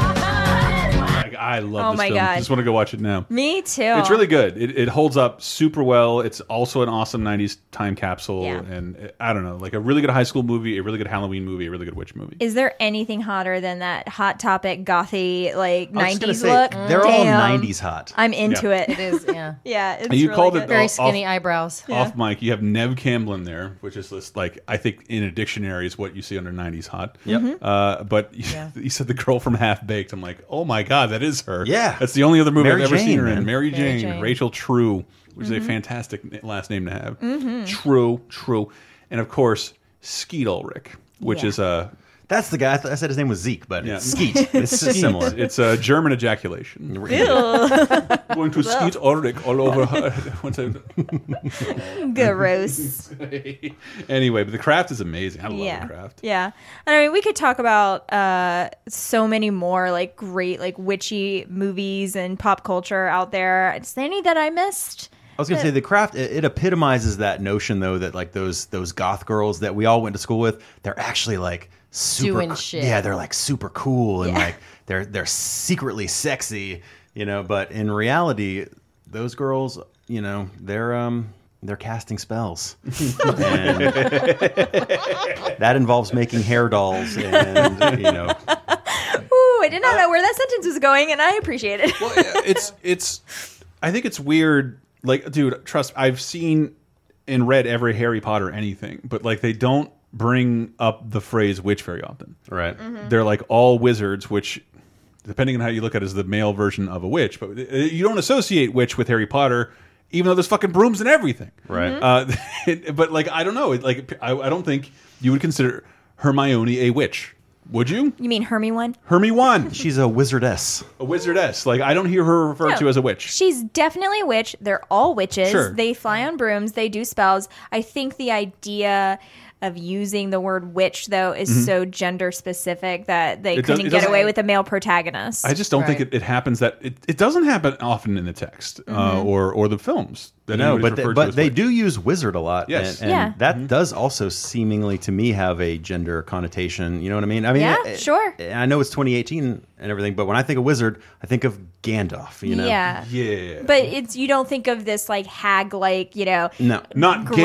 S1: Like, I love
S2: Oh
S1: this
S2: my
S1: film.
S2: God.
S1: Just want to go watch it now.
S2: Me too.
S1: It's really good. It, it holds up super well. It's also an awesome '90s time capsule,
S2: Yeah.
S1: and uh, I don't know, like a really good high school movie, a really good Halloween movie, a really good witch movie.
S2: Is there anything hotter than that hot topic gothy like
S1: I was just gonna
S2: nineties
S1: say,
S2: look?
S1: they're all
S2: Damn.
S1: 90s hot.
S2: I'm into
S1: Yeah.
S2: it.
S5: It is, yeah.
S2: <laughs> yeah, it's
S1: you
S2: really
S1: called
S2: good.
S1: it Very off- skinny
S5: eyebrows.
S1: Off mic, you have Nev Camblin there, which is this like I think in a dictionary is what you see under '90s hot.
S3: Yep. Mhm.
S1: Uh, but <laughs> you he said the girl from Half Baked. I'm like, oh my god, that is her.
S3: Yeah.
S1: That's the only other movie
S3: Mary
S1: I've ever
S3: Jane,
S1: seen her
S3: man.
S1: in. Mary
S3: Mary
S1: Jane,
S3: Jane.
S1: Rachel True, which is
S3: Mhm.
S1: a fantastic na- last name to have.
S3: Mhm.
S1: True, True, and of course Skeet Ulrich, which
S3: Yeah.
S1: is a
S3: That's the guy. I, th I said his name was Zeke, but it's Skeet. It's
S1: It's similar. It's a German ejaculation. Going to Skeet Ulrich all over her. <laughs> What's that?
S2: Gross.
S1: <laughs> anyway, but the craft is amazing. I love
S2: yeah.
S1: the craft.
S2: Yeah. And I mean, we could talk about uh, so many more like great like witchy movies and pop culture out there. Is there any that I missed?
S3: I was gonna say the craft. It, it epitomizes that notion, though, that like those those goth girls that we all went to school with, they're actually like super.
S5: Doing
S3: coo-
S5: shit.
S3: Yeah, they're like super cool and
S5: Yeah.
S3: like they're they're secretly sexy, you know. But in reality, those girls, you know, they're um they're casting
S5: <laughs>
S3: spells. And that involves making hair dolls and you know
S2: Ooh, I did not know where that sentence was going, and I appreciate it. <laughs>
S1: it's it's I think it's weird like dude, trust I've seen and read every Harry Potter anything, but like they don't bring up the phrase witch very often. Right.
S6: Mhm.
S1: They're like all wizards which depending on how you look at it is the male version of a witch, but uh, you don't associate witch with Harry Potter even though there's fucking brooms and everything.
S3: Right. Mhm.
S1: Uh, <laughs> it- but like I don't know, It- like I, I don't think you would consider Hermione a witch. Would you?
S2: you mean Hermione?
S1: Hermione.
S2: <laughs>
S1: one.
S3: She's a wizardess.
S1: A wizardess. Like I don't hear her referred
S2: No.
S1: to as a witch.
S2: She's definitely a witch. They're all witches.
S1: Sure.
S2: They fly on brooms. They do spells. I think the idea of using the word witch though is
S1: Mhm.
S2: so gender specific that they
S1: It does-
S2: couldn't
S1: it
S2: get
S1: doesn't-
S2: away with a male protagonist.
S1: I just don't think it, it happens that it, it doesn't happen often in the text uh,
S2: Mhm.
S1: or or the films. that
S3: no,
S1: anybody's
S3: but they,
S1: referred to
S3: but
S1: as
S3: they
S1: witch.
S3: do use wizard a lot.
S1: Yes. Mm-hmm.
S3: and, and
S2: Yeah.
S3: that does also seemingly to me have a gender connotation. You know what I mean? I mean,
S2: Yeah,
S3: it-
S2: sure.
S3: I know it's 2018 and everything, but when I think of wizard, I think of Gandalf. You know?
S2: Yeah.
S1: yeah.
S2: But it's you don't think of this like hag like you know
S3: no,
S1: not
S2: gross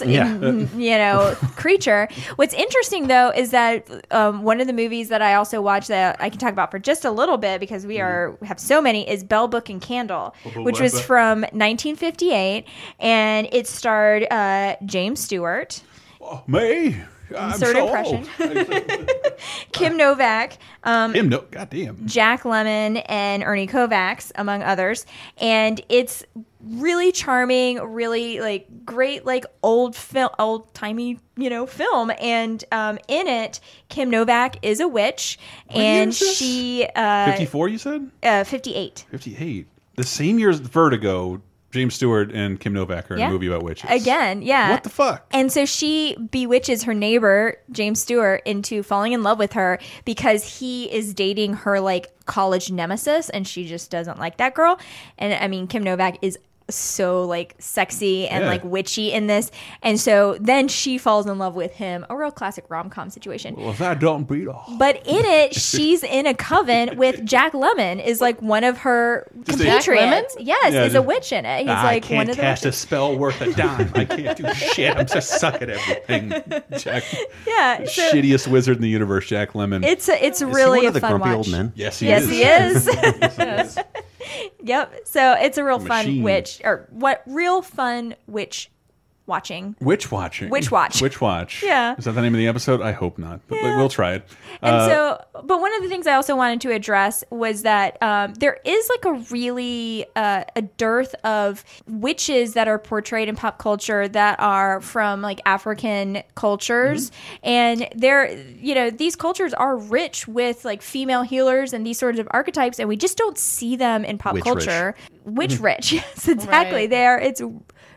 S1: Gandalf. Yeah.
S2: mm, <laughs> you know creature. What's interesting though is that um, one of the movies that I also watched that I can talk about for just a little bit because we are have so many is Bell Book and Candle,
S14: Oh,
S2: which
S14: what's
S2: was
S14: that?
S2: from 1958 and it starred uh, James Stewart.
S1: Oh, May. I'm
S2: Insert
S1: so
S2: impression. Kim Novak. Um,
S1: old. Him, no, goddamn.
S2: Jack Lemon and Ernie Kovacs, among others. And it's really charming, really like great, like old film, old timey, you know, film. And um, in it, Kim Novak is a witch, and she uh,
S1: 54, you said?
S2: uh, 58.
S1: 58. The same year as Vertigo, James Stewart and Kim Novak are in
S2: Yeah.
S1: a movie about witches.
S2: Again, yeah.
S1: What the fuck?
S2: And so she bewitches her neighbor, James Stewart, into falling in love with her because he is dating her like college nemesis and she just doesn't like that girl. And I mean, Kim Novak is so like sexy and
S14: Yeah.
S2: like witchy in this. And so then she falls in love with him. A real classic rom com situation.
S1: Well, that don't beat all.
S2: But in
S1: <laughs>
S2: it, she's in a coven with Jack Lemon. Is like one of her
S1: Just a-
S2: compatriots.
S1: Jack Lemmon?
S2: Yes,
S1: Yeah,
S2: he's a
S1: just-
S2: witch in it. He's
S1: I
S2: like
S1: can't
S2: one of the
S1: cast
S2: witches.
S1: a spell worth a dime. I <laughs>
S2: <laughs>
S1: can't do shit. I'm just suck at everything. Jack,
S2: Yeah, so-
S1: shittiest wizard in the universe, Jack Lemon.
S2: It's a, it's really
S1: one
S2: a
S1: of the
S2: fun
S1: grumpy
S2: watch.
S1: old men? <laughs> Yes, he
S2: yes,
S1: is.
S2: Yes, he is. <laughs> yep. So it's a real fun
S1: Machine.
S2: witch, or what? Real fun witch watching.
S1: Witch watching.
S2: Witch watch.
S1: Witch watch.
S2: Yeah.
S1: Is that the name of the episode? I hope not, but but we'll try it.
S2: And
S1: Uh,
S2: so, but one of the things I also wanted to address was that um, there is like a really uh, a dearth of witches that are portrayed in pop culture that are from like African cultures,
S14: Mm-hmm.
S2: and they're you know these cultures are rich with like female healers and these sorts of archetypes, and we just don't see them in pop
S14: Witch rich.
S2: culture. Witch
S14: Mhm.
S2: rich, <laughs> yes, <laughs> exactly.
S5: Right.
S2: They E- are it's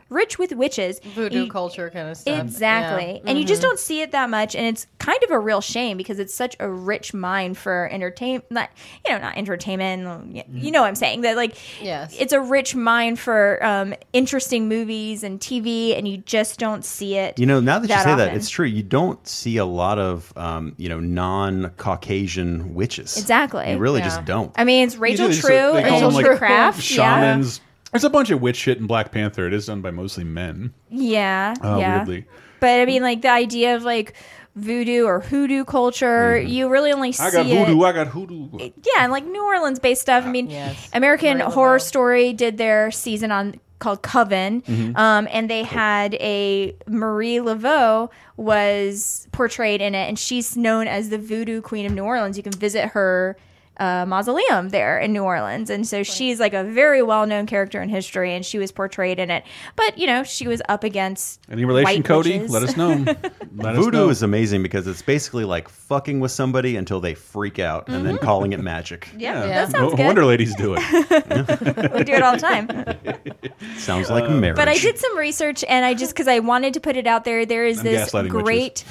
S2: rich with witches,
S5: Voodoo
S2: You-
S5: culture kind of stuff.
S2: Exactly.
S5: Yeah.
S2: And you just
S5: Mhm.
S2: don't see it that much. And it's kind of a real shame because it's such a rich mind for entertainment, not, you know, not entertainment. y- You know what I'm saying? That like,
S5: Mm-hmm. Yes.
S2: it's a rich mind for um, interesting movies and TV, and you just don't see it.
S3: You know, now that, you say that,
S2: often.
S3: it's true. You don't see a lot of, um, you know, non-Caucasian witches.
S2: Exactly.
S3: You really
S2: Yeah.
S3: just don't.
S2: I mean, it's Rachel
S1: Usually
S2: True,
S1: it's- uh, they call
S2: Rachel
S1: them, like,
S2: True Craft.
S1: Shamans. There's a bunch of witch shit in Black Panther. It is done by mostly men.
S2: Yeah. Yeah.
S1: Uh,
S2: yeah.
S1: Weirdly.
S2: But I mean, like, the idea of like voodoo or hoodoo culture, you really only see
S1: Mm-hmm. I got
S2: it.
S1: voodoo. I got hoodoo.
S2: yeah, and like New Orleans based stuff. I mean, American Horror Story did their season on called Coven,
S1: Mm-hmm.
S14: Mhm.
S2: um, and they had a Marie Laveau was portrayed in it, and she's known as the Voodoo Queen of New Orleans. You can visit her. Uh, mausoleum there in New Orleans, and so she's like a very well-known character in history, and she was portrayed in it. But you know, she was up against
S1: Any relation,
S2: white
S1: Cody?
S2: witches.
S1: Let us
S2: <laughs>
S1: know. Let us
S3: Voodoo
S1: know.
S3: is amazing because it's basically like fucking with somebody until they freak out and then calling it magic.
S2: Mm-hmm. <laughs> Yeah, Yeah. that sounds
S3: No
S2: good.
S3: Wonder ladies
S2: <laughs>
S3: do it.
S2: we do it all the
S1: <laughs>
S2: time.
S3: sounds like
S1: Uh,
S3: marriage.
S2: But I did some research, and I just because I wanted to put it out there. There is
S3: I'm
S2: this
S3: gaslighting witches.
S2: great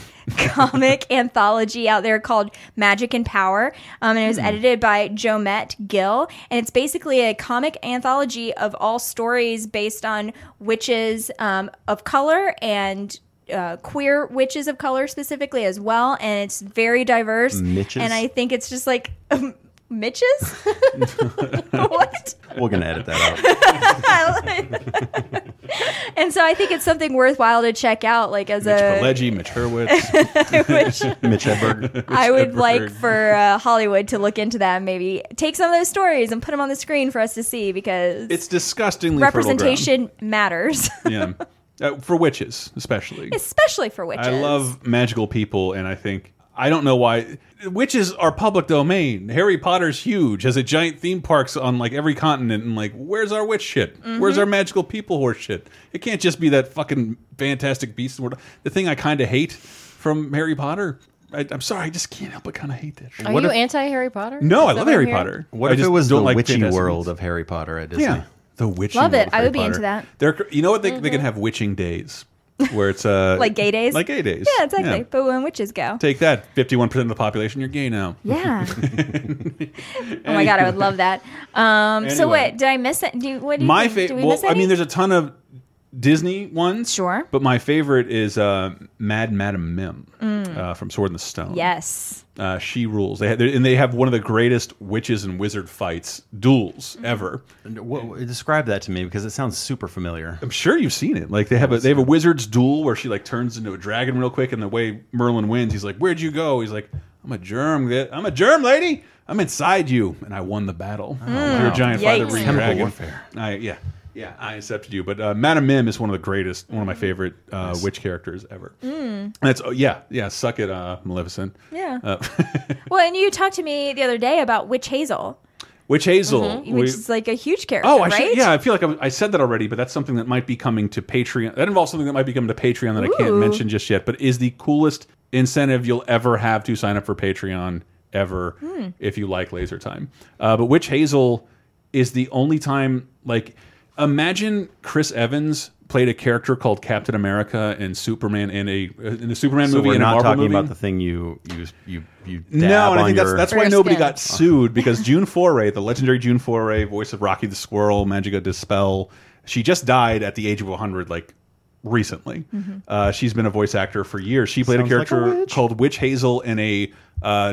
S3: <laughs>
S2: <laughs> comic anthology out there called Magic and Power, um, and it was
S14: Hmm.
S2: edited by Jomette Gill, and it's basically a comic anthology of all stories based on witches um, of color and. Uh, queer witches of color specifically as well, and it's very diverse.
S3: Mitches?
S2: And I think it's just like <laughs> Mitches.
S3: <laughs>
S2: <laughs> what?
S3: We're gonna edit that
S2: and so I think it's something worthwhile to check out, like as
S1: Mitch
S2: a
S1: Pileggi, Mitch <laughs>
S2: <laughs>
S1: Hurwitz,
S3: Mitch Hedberg.
S2: I would like for uh, Hollywood to look into that. and Maybe take some of those stories and put them on the screen for us to see because
S1: It's disgustingly fertile ground.
S2: representation
S1: <laughs>
S2: matters,
S1: Yeah, uh, for witches especially.
S2: especially for witches.
S1: I love magical people, and I think I don't know why witches are public domain. Harry Potter's huge, has a giant theme parks on like every continent, and like where's our witch shit?
S18: Mhm.
S1: Where's
S2: Mm-hmm.
S1: our magical people horse shit? It can't just be that fucking fantastic beast world. The thing I kind of hate from Harry Potter. I, I'm sorry, I just can't help but kind of hate that. Shit.
S5: Are you anti Harry Potter?
S1: No, I love
S5: Is that what I'm
S1: Harry
S5: hearing?
S1: Potter.
S3: What
S1: I
S3: if it
S1: just
S3: was
S1: don't
S3: the
S1: like
S3: witchy
S1: Fantastic
S3: world
S1: Beasts.
S3: of Harry Potter at Disney?
S1: Yeah, the witching.
S2: Love
S1: world
S2: it.
S1: of
S2: I
S1: Harry
S2: would be into
S1: Potter.
S2: that. Mm-hmm.
S1: They're, you know what? They, they can have witching days. where it's uh,
S2: <laughs> like gay days.
S1: like gay days.
S2: Yeah, exactly. But when witches go.
S1: Take that, fifty-one percent of the population. You're gay now. <laughs>
S2: Yeah. <laughs> Oh my god, I would love that. Um, So
S1: Anyway.
S2: what? Did I miss it? Do, what do you
S1: my
S2: think? Do
S1: favorite.
S2: we
S1: Well,
S2: miss
S1: I
S2: any?
S1: mean, there's a ton of Disney ones.
S2: Sure.
S1: But my favorite is uh, Mad Madam Mim
S2: Mm.
S1: uh, from Sword in the Stone.
S2: yes.
S1: Uh, she rules. They had, and they have one of the greatest witches and wizard fights duels
S3: Mm-hmm.
S1: ever.
S3: describe that to me because it sounds super familiar.
S1: I'm sure you've seen it. Like they have a they have a wizard's duel where she like turns into a dragon real quick, and the way Merlin wins, he's like, "Where'd you go?" He's like, "I'm a germ. li- I'm a germ lady. I'm inside you, and I won the battle.
S3: Oh, wow.
S1: You're a giant
S3: Yikes.
S1: father ring
S3: Chemical
S1: dragon.
S3: warfare.
S1: I, yeah, yeah, I accepted you. But uh, Madame Mim is one of the greatest, one of
S3: Mm-hmm.
S1: my favorite uh, witch characters ever.
S2: Mm.
S1: That's oh, yeah, yeah. Suck it, uh, Maleficent.
S2: Yeah.
S1: Uh, <laughs>
S2: Well, and you talked to me the other day about Witch Hazel,
S1: Witch Hazel,
S2: Mhm.
S1: we-
S2: which is like a huge character.
S1: Oh, I
S2: right?
S1: should, yeah, I feel like I, I said that already, but that's something that might be coming to Patreon. That involves something that might be coming to Patreon that I can't
S2: Ooh.
S1: mention just yet, but is the coolest incentive you'll ever have to sign up for Patreon ever
S18: Hmm.
S1: if you like Laser Time. Uh, but Witch Hazel is the only time, like, imagine Chris Evans played a character called Captain America and Superman in a uh, in a Superman
S3: so
S1: movie
S3: we're
S1: and a
S3: not
S1: Marvel
S3: talking
S1: movie.
S3: about the thing you you you you. Dab
S1: No, and I
S3: on
S1: think
S3: your-
S1: that's that's why nobody got sued because June Foray, the legendary June Foray, voice of Rocky the Squirrel, Magica Dispel, she just died at the age of 100, like recently.
S18: Mhm.
S1: Uh, she's been a voice actor for years. She played
S18: Sounds
S1: a
S18: like a
S1: character
S18: witch.
S1: called Witch Hazel in a uh,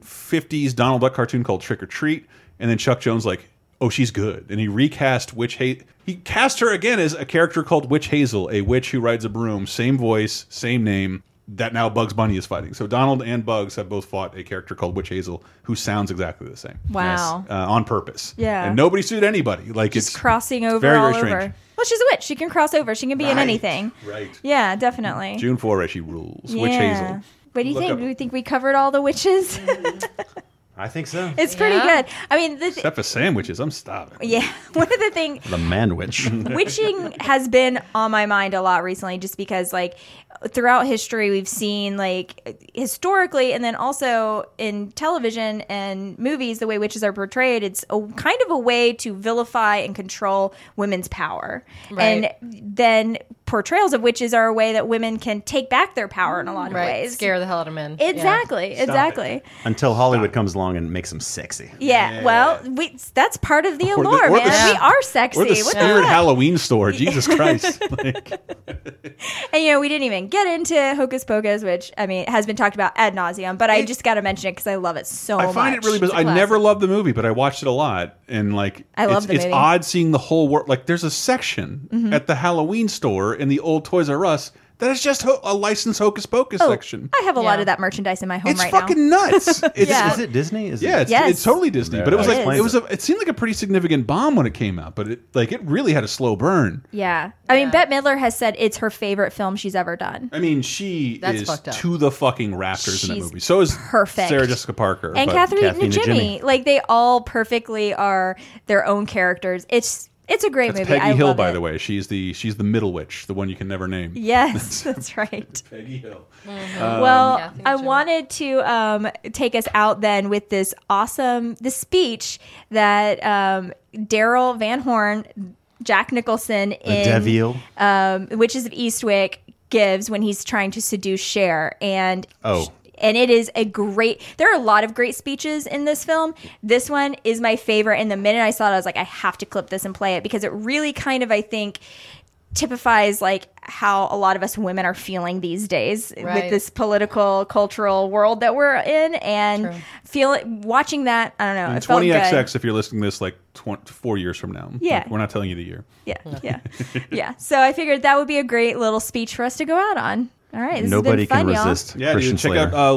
S1: 1950s Donald Duck cartoon called Trick or Treat, and then Chuck Jones like. Oh, she's good, and he recast Witch Hazel. He cast her again as a character called Witch Hazel, a witch who rides a broom. Same voice, same name. That now Bugs Bunny is fighting. So Donald and Bugs have both fought a character called Witch Hazel, who sounds exactly the same.
S2: Wow.
S1: uh, on purpose.
S2: Yeah.
S1: and nobody sued anybody. Like it's
S2: crossing over
S1: very,
S2: all
S1: very strange.
S2: over. Well, she's a witch. She can cross over. She can be in
S1: Right.
S2: anything.
S1: Right.
S2: Yeah, definitely.
S1: June Foray, she rules.
S2: yeah.
S1: Witch Hazel.
S2: What do you
S1: Look
S2: think?
S1: up-
S2: Do you think we covered all the witches? <laughs>
S3: I think so.
S2: it's pretty
S5: Yeah.
S2: good. I mean, the th-
S1: Except for sandwiches, I'm stopping.
S2: yeah, <laughs> one of the things
S3: The man
S2: <laughs>
S3: witch.
S2: witching has been on my mind a lot recently just because like throughout history we've seen like historically and then also in television and movies the way witches are portrayed it's a kind of a way to vilify and control women's power
S5: Right.
S2: and then portrayals of witches are a way that women can take back their power in a lot of
S5: Right.
S2: ways
S5: Scare the hell out of men. Yeah.
S2: exactly exactly
S3: Until Hollywood comes along and makes them sexy.
S2: yeah, well we, that's part of the
S3: We're the-
S2: allure
S3: we're the s-
S2: man we are sexy
S1: We're the
S2: What
S1: spirit
S2: heck?
S1: Halloween store.
S2: <laughs>
S1: Jesus Christ. Like,
S2: And you know, we didn't even get into Hocus Pocus, which I mean has been talked about ad nauseum, but I just got to mention it because I love it so much.
S1: I find it really bizarre. I never loved the movie, but I watched it a lot, and like
S2: I love
S1: it's,
S2: the
S1: it's
S2: movie.
S1: odd seeing the whole world. Like there's a section
S2: Mhm.
S1: at the Halloween store in the old Toys R Us that is just ho a licensed Hocus Pocus
S2: Oh,
S1: section.
S2: I have a lot of that merchandise in my home
S1: It's
S2: right
S1: fucking
S2: now. <laughs>
S1: nuts. It's,
S2: Yeah.
S3: Is it Disney? Is
S1: yeah,
S3: it?
S1: it's, it's totally Disney, but it was
S3: That
S1: like
S3: explains
S1: it was a, it seemed like a pretty significant bomb when it came out, but it like it really had a slow burn.
S2: Yeah, I mean, Bette Midler has said it's her favorite film she's ever done,
S1: I mean, she
S2: That's
S1: is
S2: fucked up.
S1: to the fucking rafters in that
S2: She's
S1: movie. So is
S2: perfect.
S1: Sarah Jessica Parker
S2: and
S1: but-
S2: Catherine and Jimmy, like they all perfectly are their own characters. It's it's a great
S1: That's
S2: movie.
S1: Peggy
S2: I
S1: Hill,
S2: love
S1: by
S2: it.
S1: the way. She's the she's the middle witch, the one you can never name. <laughs>
S2: <laughs> Yes, that's right.
S1: Peggy Hill. Um,
S2: well, I wanted to um, take us out then with this awesome the speech that um, Daryl Van Horn, Jack Nicholson in
S3: Deville.
S2: um, Witches of Eastwick gives when he's trying to seduce Cher, and
S3: Oh.
S2: and it is a great. There are a lot of great speeches in this film. This one is my favorite. And the minute I saw it, I was like, I have to clip this and play it because it really kind of, I think, typifies like how a lot of us women are feeling these days
S5: Right.
S2: with this political, cultural world that we're in, and feel watching that. I don't know.
S1: and
S2: It felt good.
S1: 20XX if you're listening to this like tw- four years from now.
S2: Yeah.
S1: Like, we're not telling you the year.
S2: Yeah, yeah,
S3: <laughs>
S2: yeah. So I figured that would be a great little speech for us to go out on. All right, this
S3: Nobody
S2: has been
S3: can
S2: fun, y'all.
S3: resist
S1: Yeah,
S3: Christian
S1: dude, check
S3: Slater.
S1: out uh,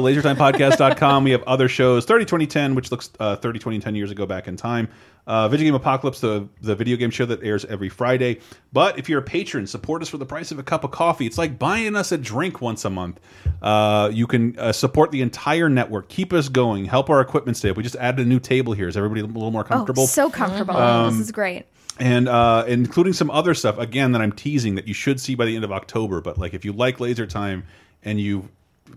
S3: <laughs>
S1: lasertimepodcast.com. we have other shows 30, 20, 10, which looks uh, 30, 20, 10 years ago back in time. Uh, video Game Apocalypse, the, the video game show that airs every Friday. But if you're a patron, support us for the price of a cup of coffee. It's like buying us a drink once a month. Uh, you can uh, support the entire network, keep us going, help our equipment stay up. We just added a new table here. Is everybody a little more comfortable?
S2: Oh, so comfortable.
S1: Um,
S2: this is great.
S1: and uh, including some other stuff again that I'm teasing that you should see by the end of October. But like, if you like Laser Time and you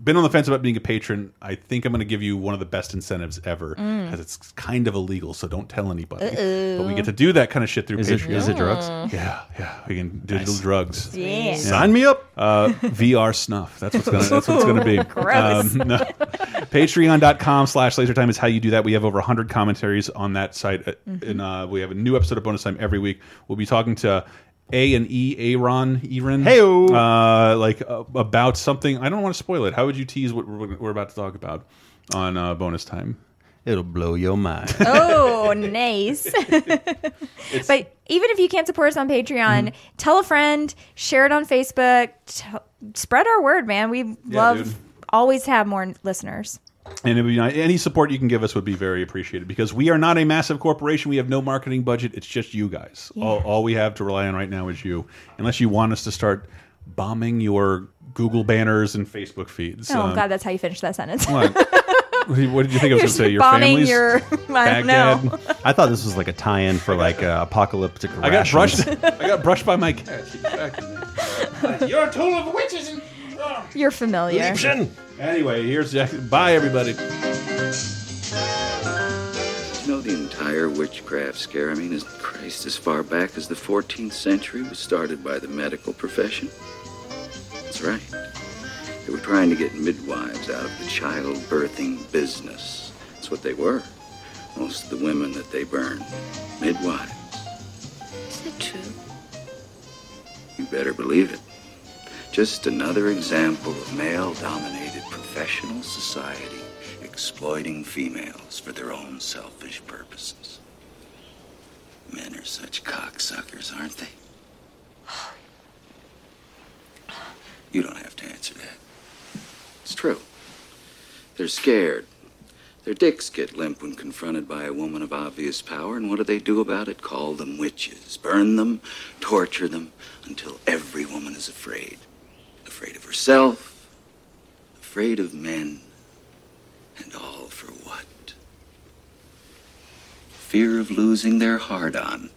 S1: been on the fence about being a patron. I think I'm going to give you one of the best incentives ever
S2: Mm.
S1: because it's kind of illegal, so don't tell anybody.
S2: Uh-oh.
S1: But we get to do that kind of shit through
S3: Is it-
S1: Patreon.
S3: is it drugs? Mm.
S1: Yeah, yeah. We can digital drugs.
S2: Sweet. Yeah.
S1: Sign
S3: <laughs>
S1: me up. Uh, VR snuff. That's what's gonna. That's what's
S2: <laughs>
S1: gonna be. Um,
S2: Ooh,
S1: <laughs>
S2: gross.
S1: no. Patreon.com slash lasertime is how you do that. We have over 100 commentaries on that site. uh,
S2: Mhm.
S1: And uh, we have a new episode of Bonus Time every week. We'll be talking to A and E, Aaron, Aaron. Hey, uh, Like uh, about something. I don't want to spoil it. How would you tease what we're, we're about to talk about on uh, Bonus Time?
S3: It'll blow your mind.
S1: <laughs>
S2: oh, nice. <laughs> but even if you can't support us on Patreon,
S1: Mm-hmm.
S2: tell a friend, share it on Facebook, t- spread our word, man. We love
S1: dude.
S2: always have more listeners.
S1: And it would be nice. any support you can give us would be very appreciated because we are not a massive corporation. We have no marketing budget. It's just you guys.
S2: Yeah.
S1: All, all we have to rely on right now is you, unless you want us to start bombing your Google banners and Facebook feeds.
S2: oh
S1: Um,
S2: God, that's how you finish that sentence.
S1: What?
S2: <laughs>
S1: What did you- <laughs> what did you think I was going
S2: You're
S1: to say? Your
S2: bombing
S1: family's
S2: your- <laughs> I don't know.
S1: Baghdad.
S3: I thought this was like a tie-in for like uh, apocalyptic.
S1: I got
S3: rations.
S1: brushed. <laughs>
S3: <laughs>
S1: I got brushed by my cat. She's back in there. You're a tool of witches and. uh,
S2: You're familiar.
S1: Anyway, here's Jack. Bye, everybody.
S18: You know the entire witchcraft scare. I mean, as Christ, as far back as the 14th century was started by the medical profession. That's right. They were trying to get midwives out of the child birthing business. That's what they were. Most of the women that they burned, midwives.
S14: Is that true?
S18: You better believe it. Just another example of male dominated professional society exploiting females for their own selfish purposes. Men are such cocksuckers, aren't they? You don't have to answer that. It's true. They're scared. Their dicks get limp when confronted by a woman of obvious power, and what do they do about it? Call them witches, burn them, torture them until every woman is afraid. Afraid of herself, afraid of men, and all for what? Fear of losing their hard on.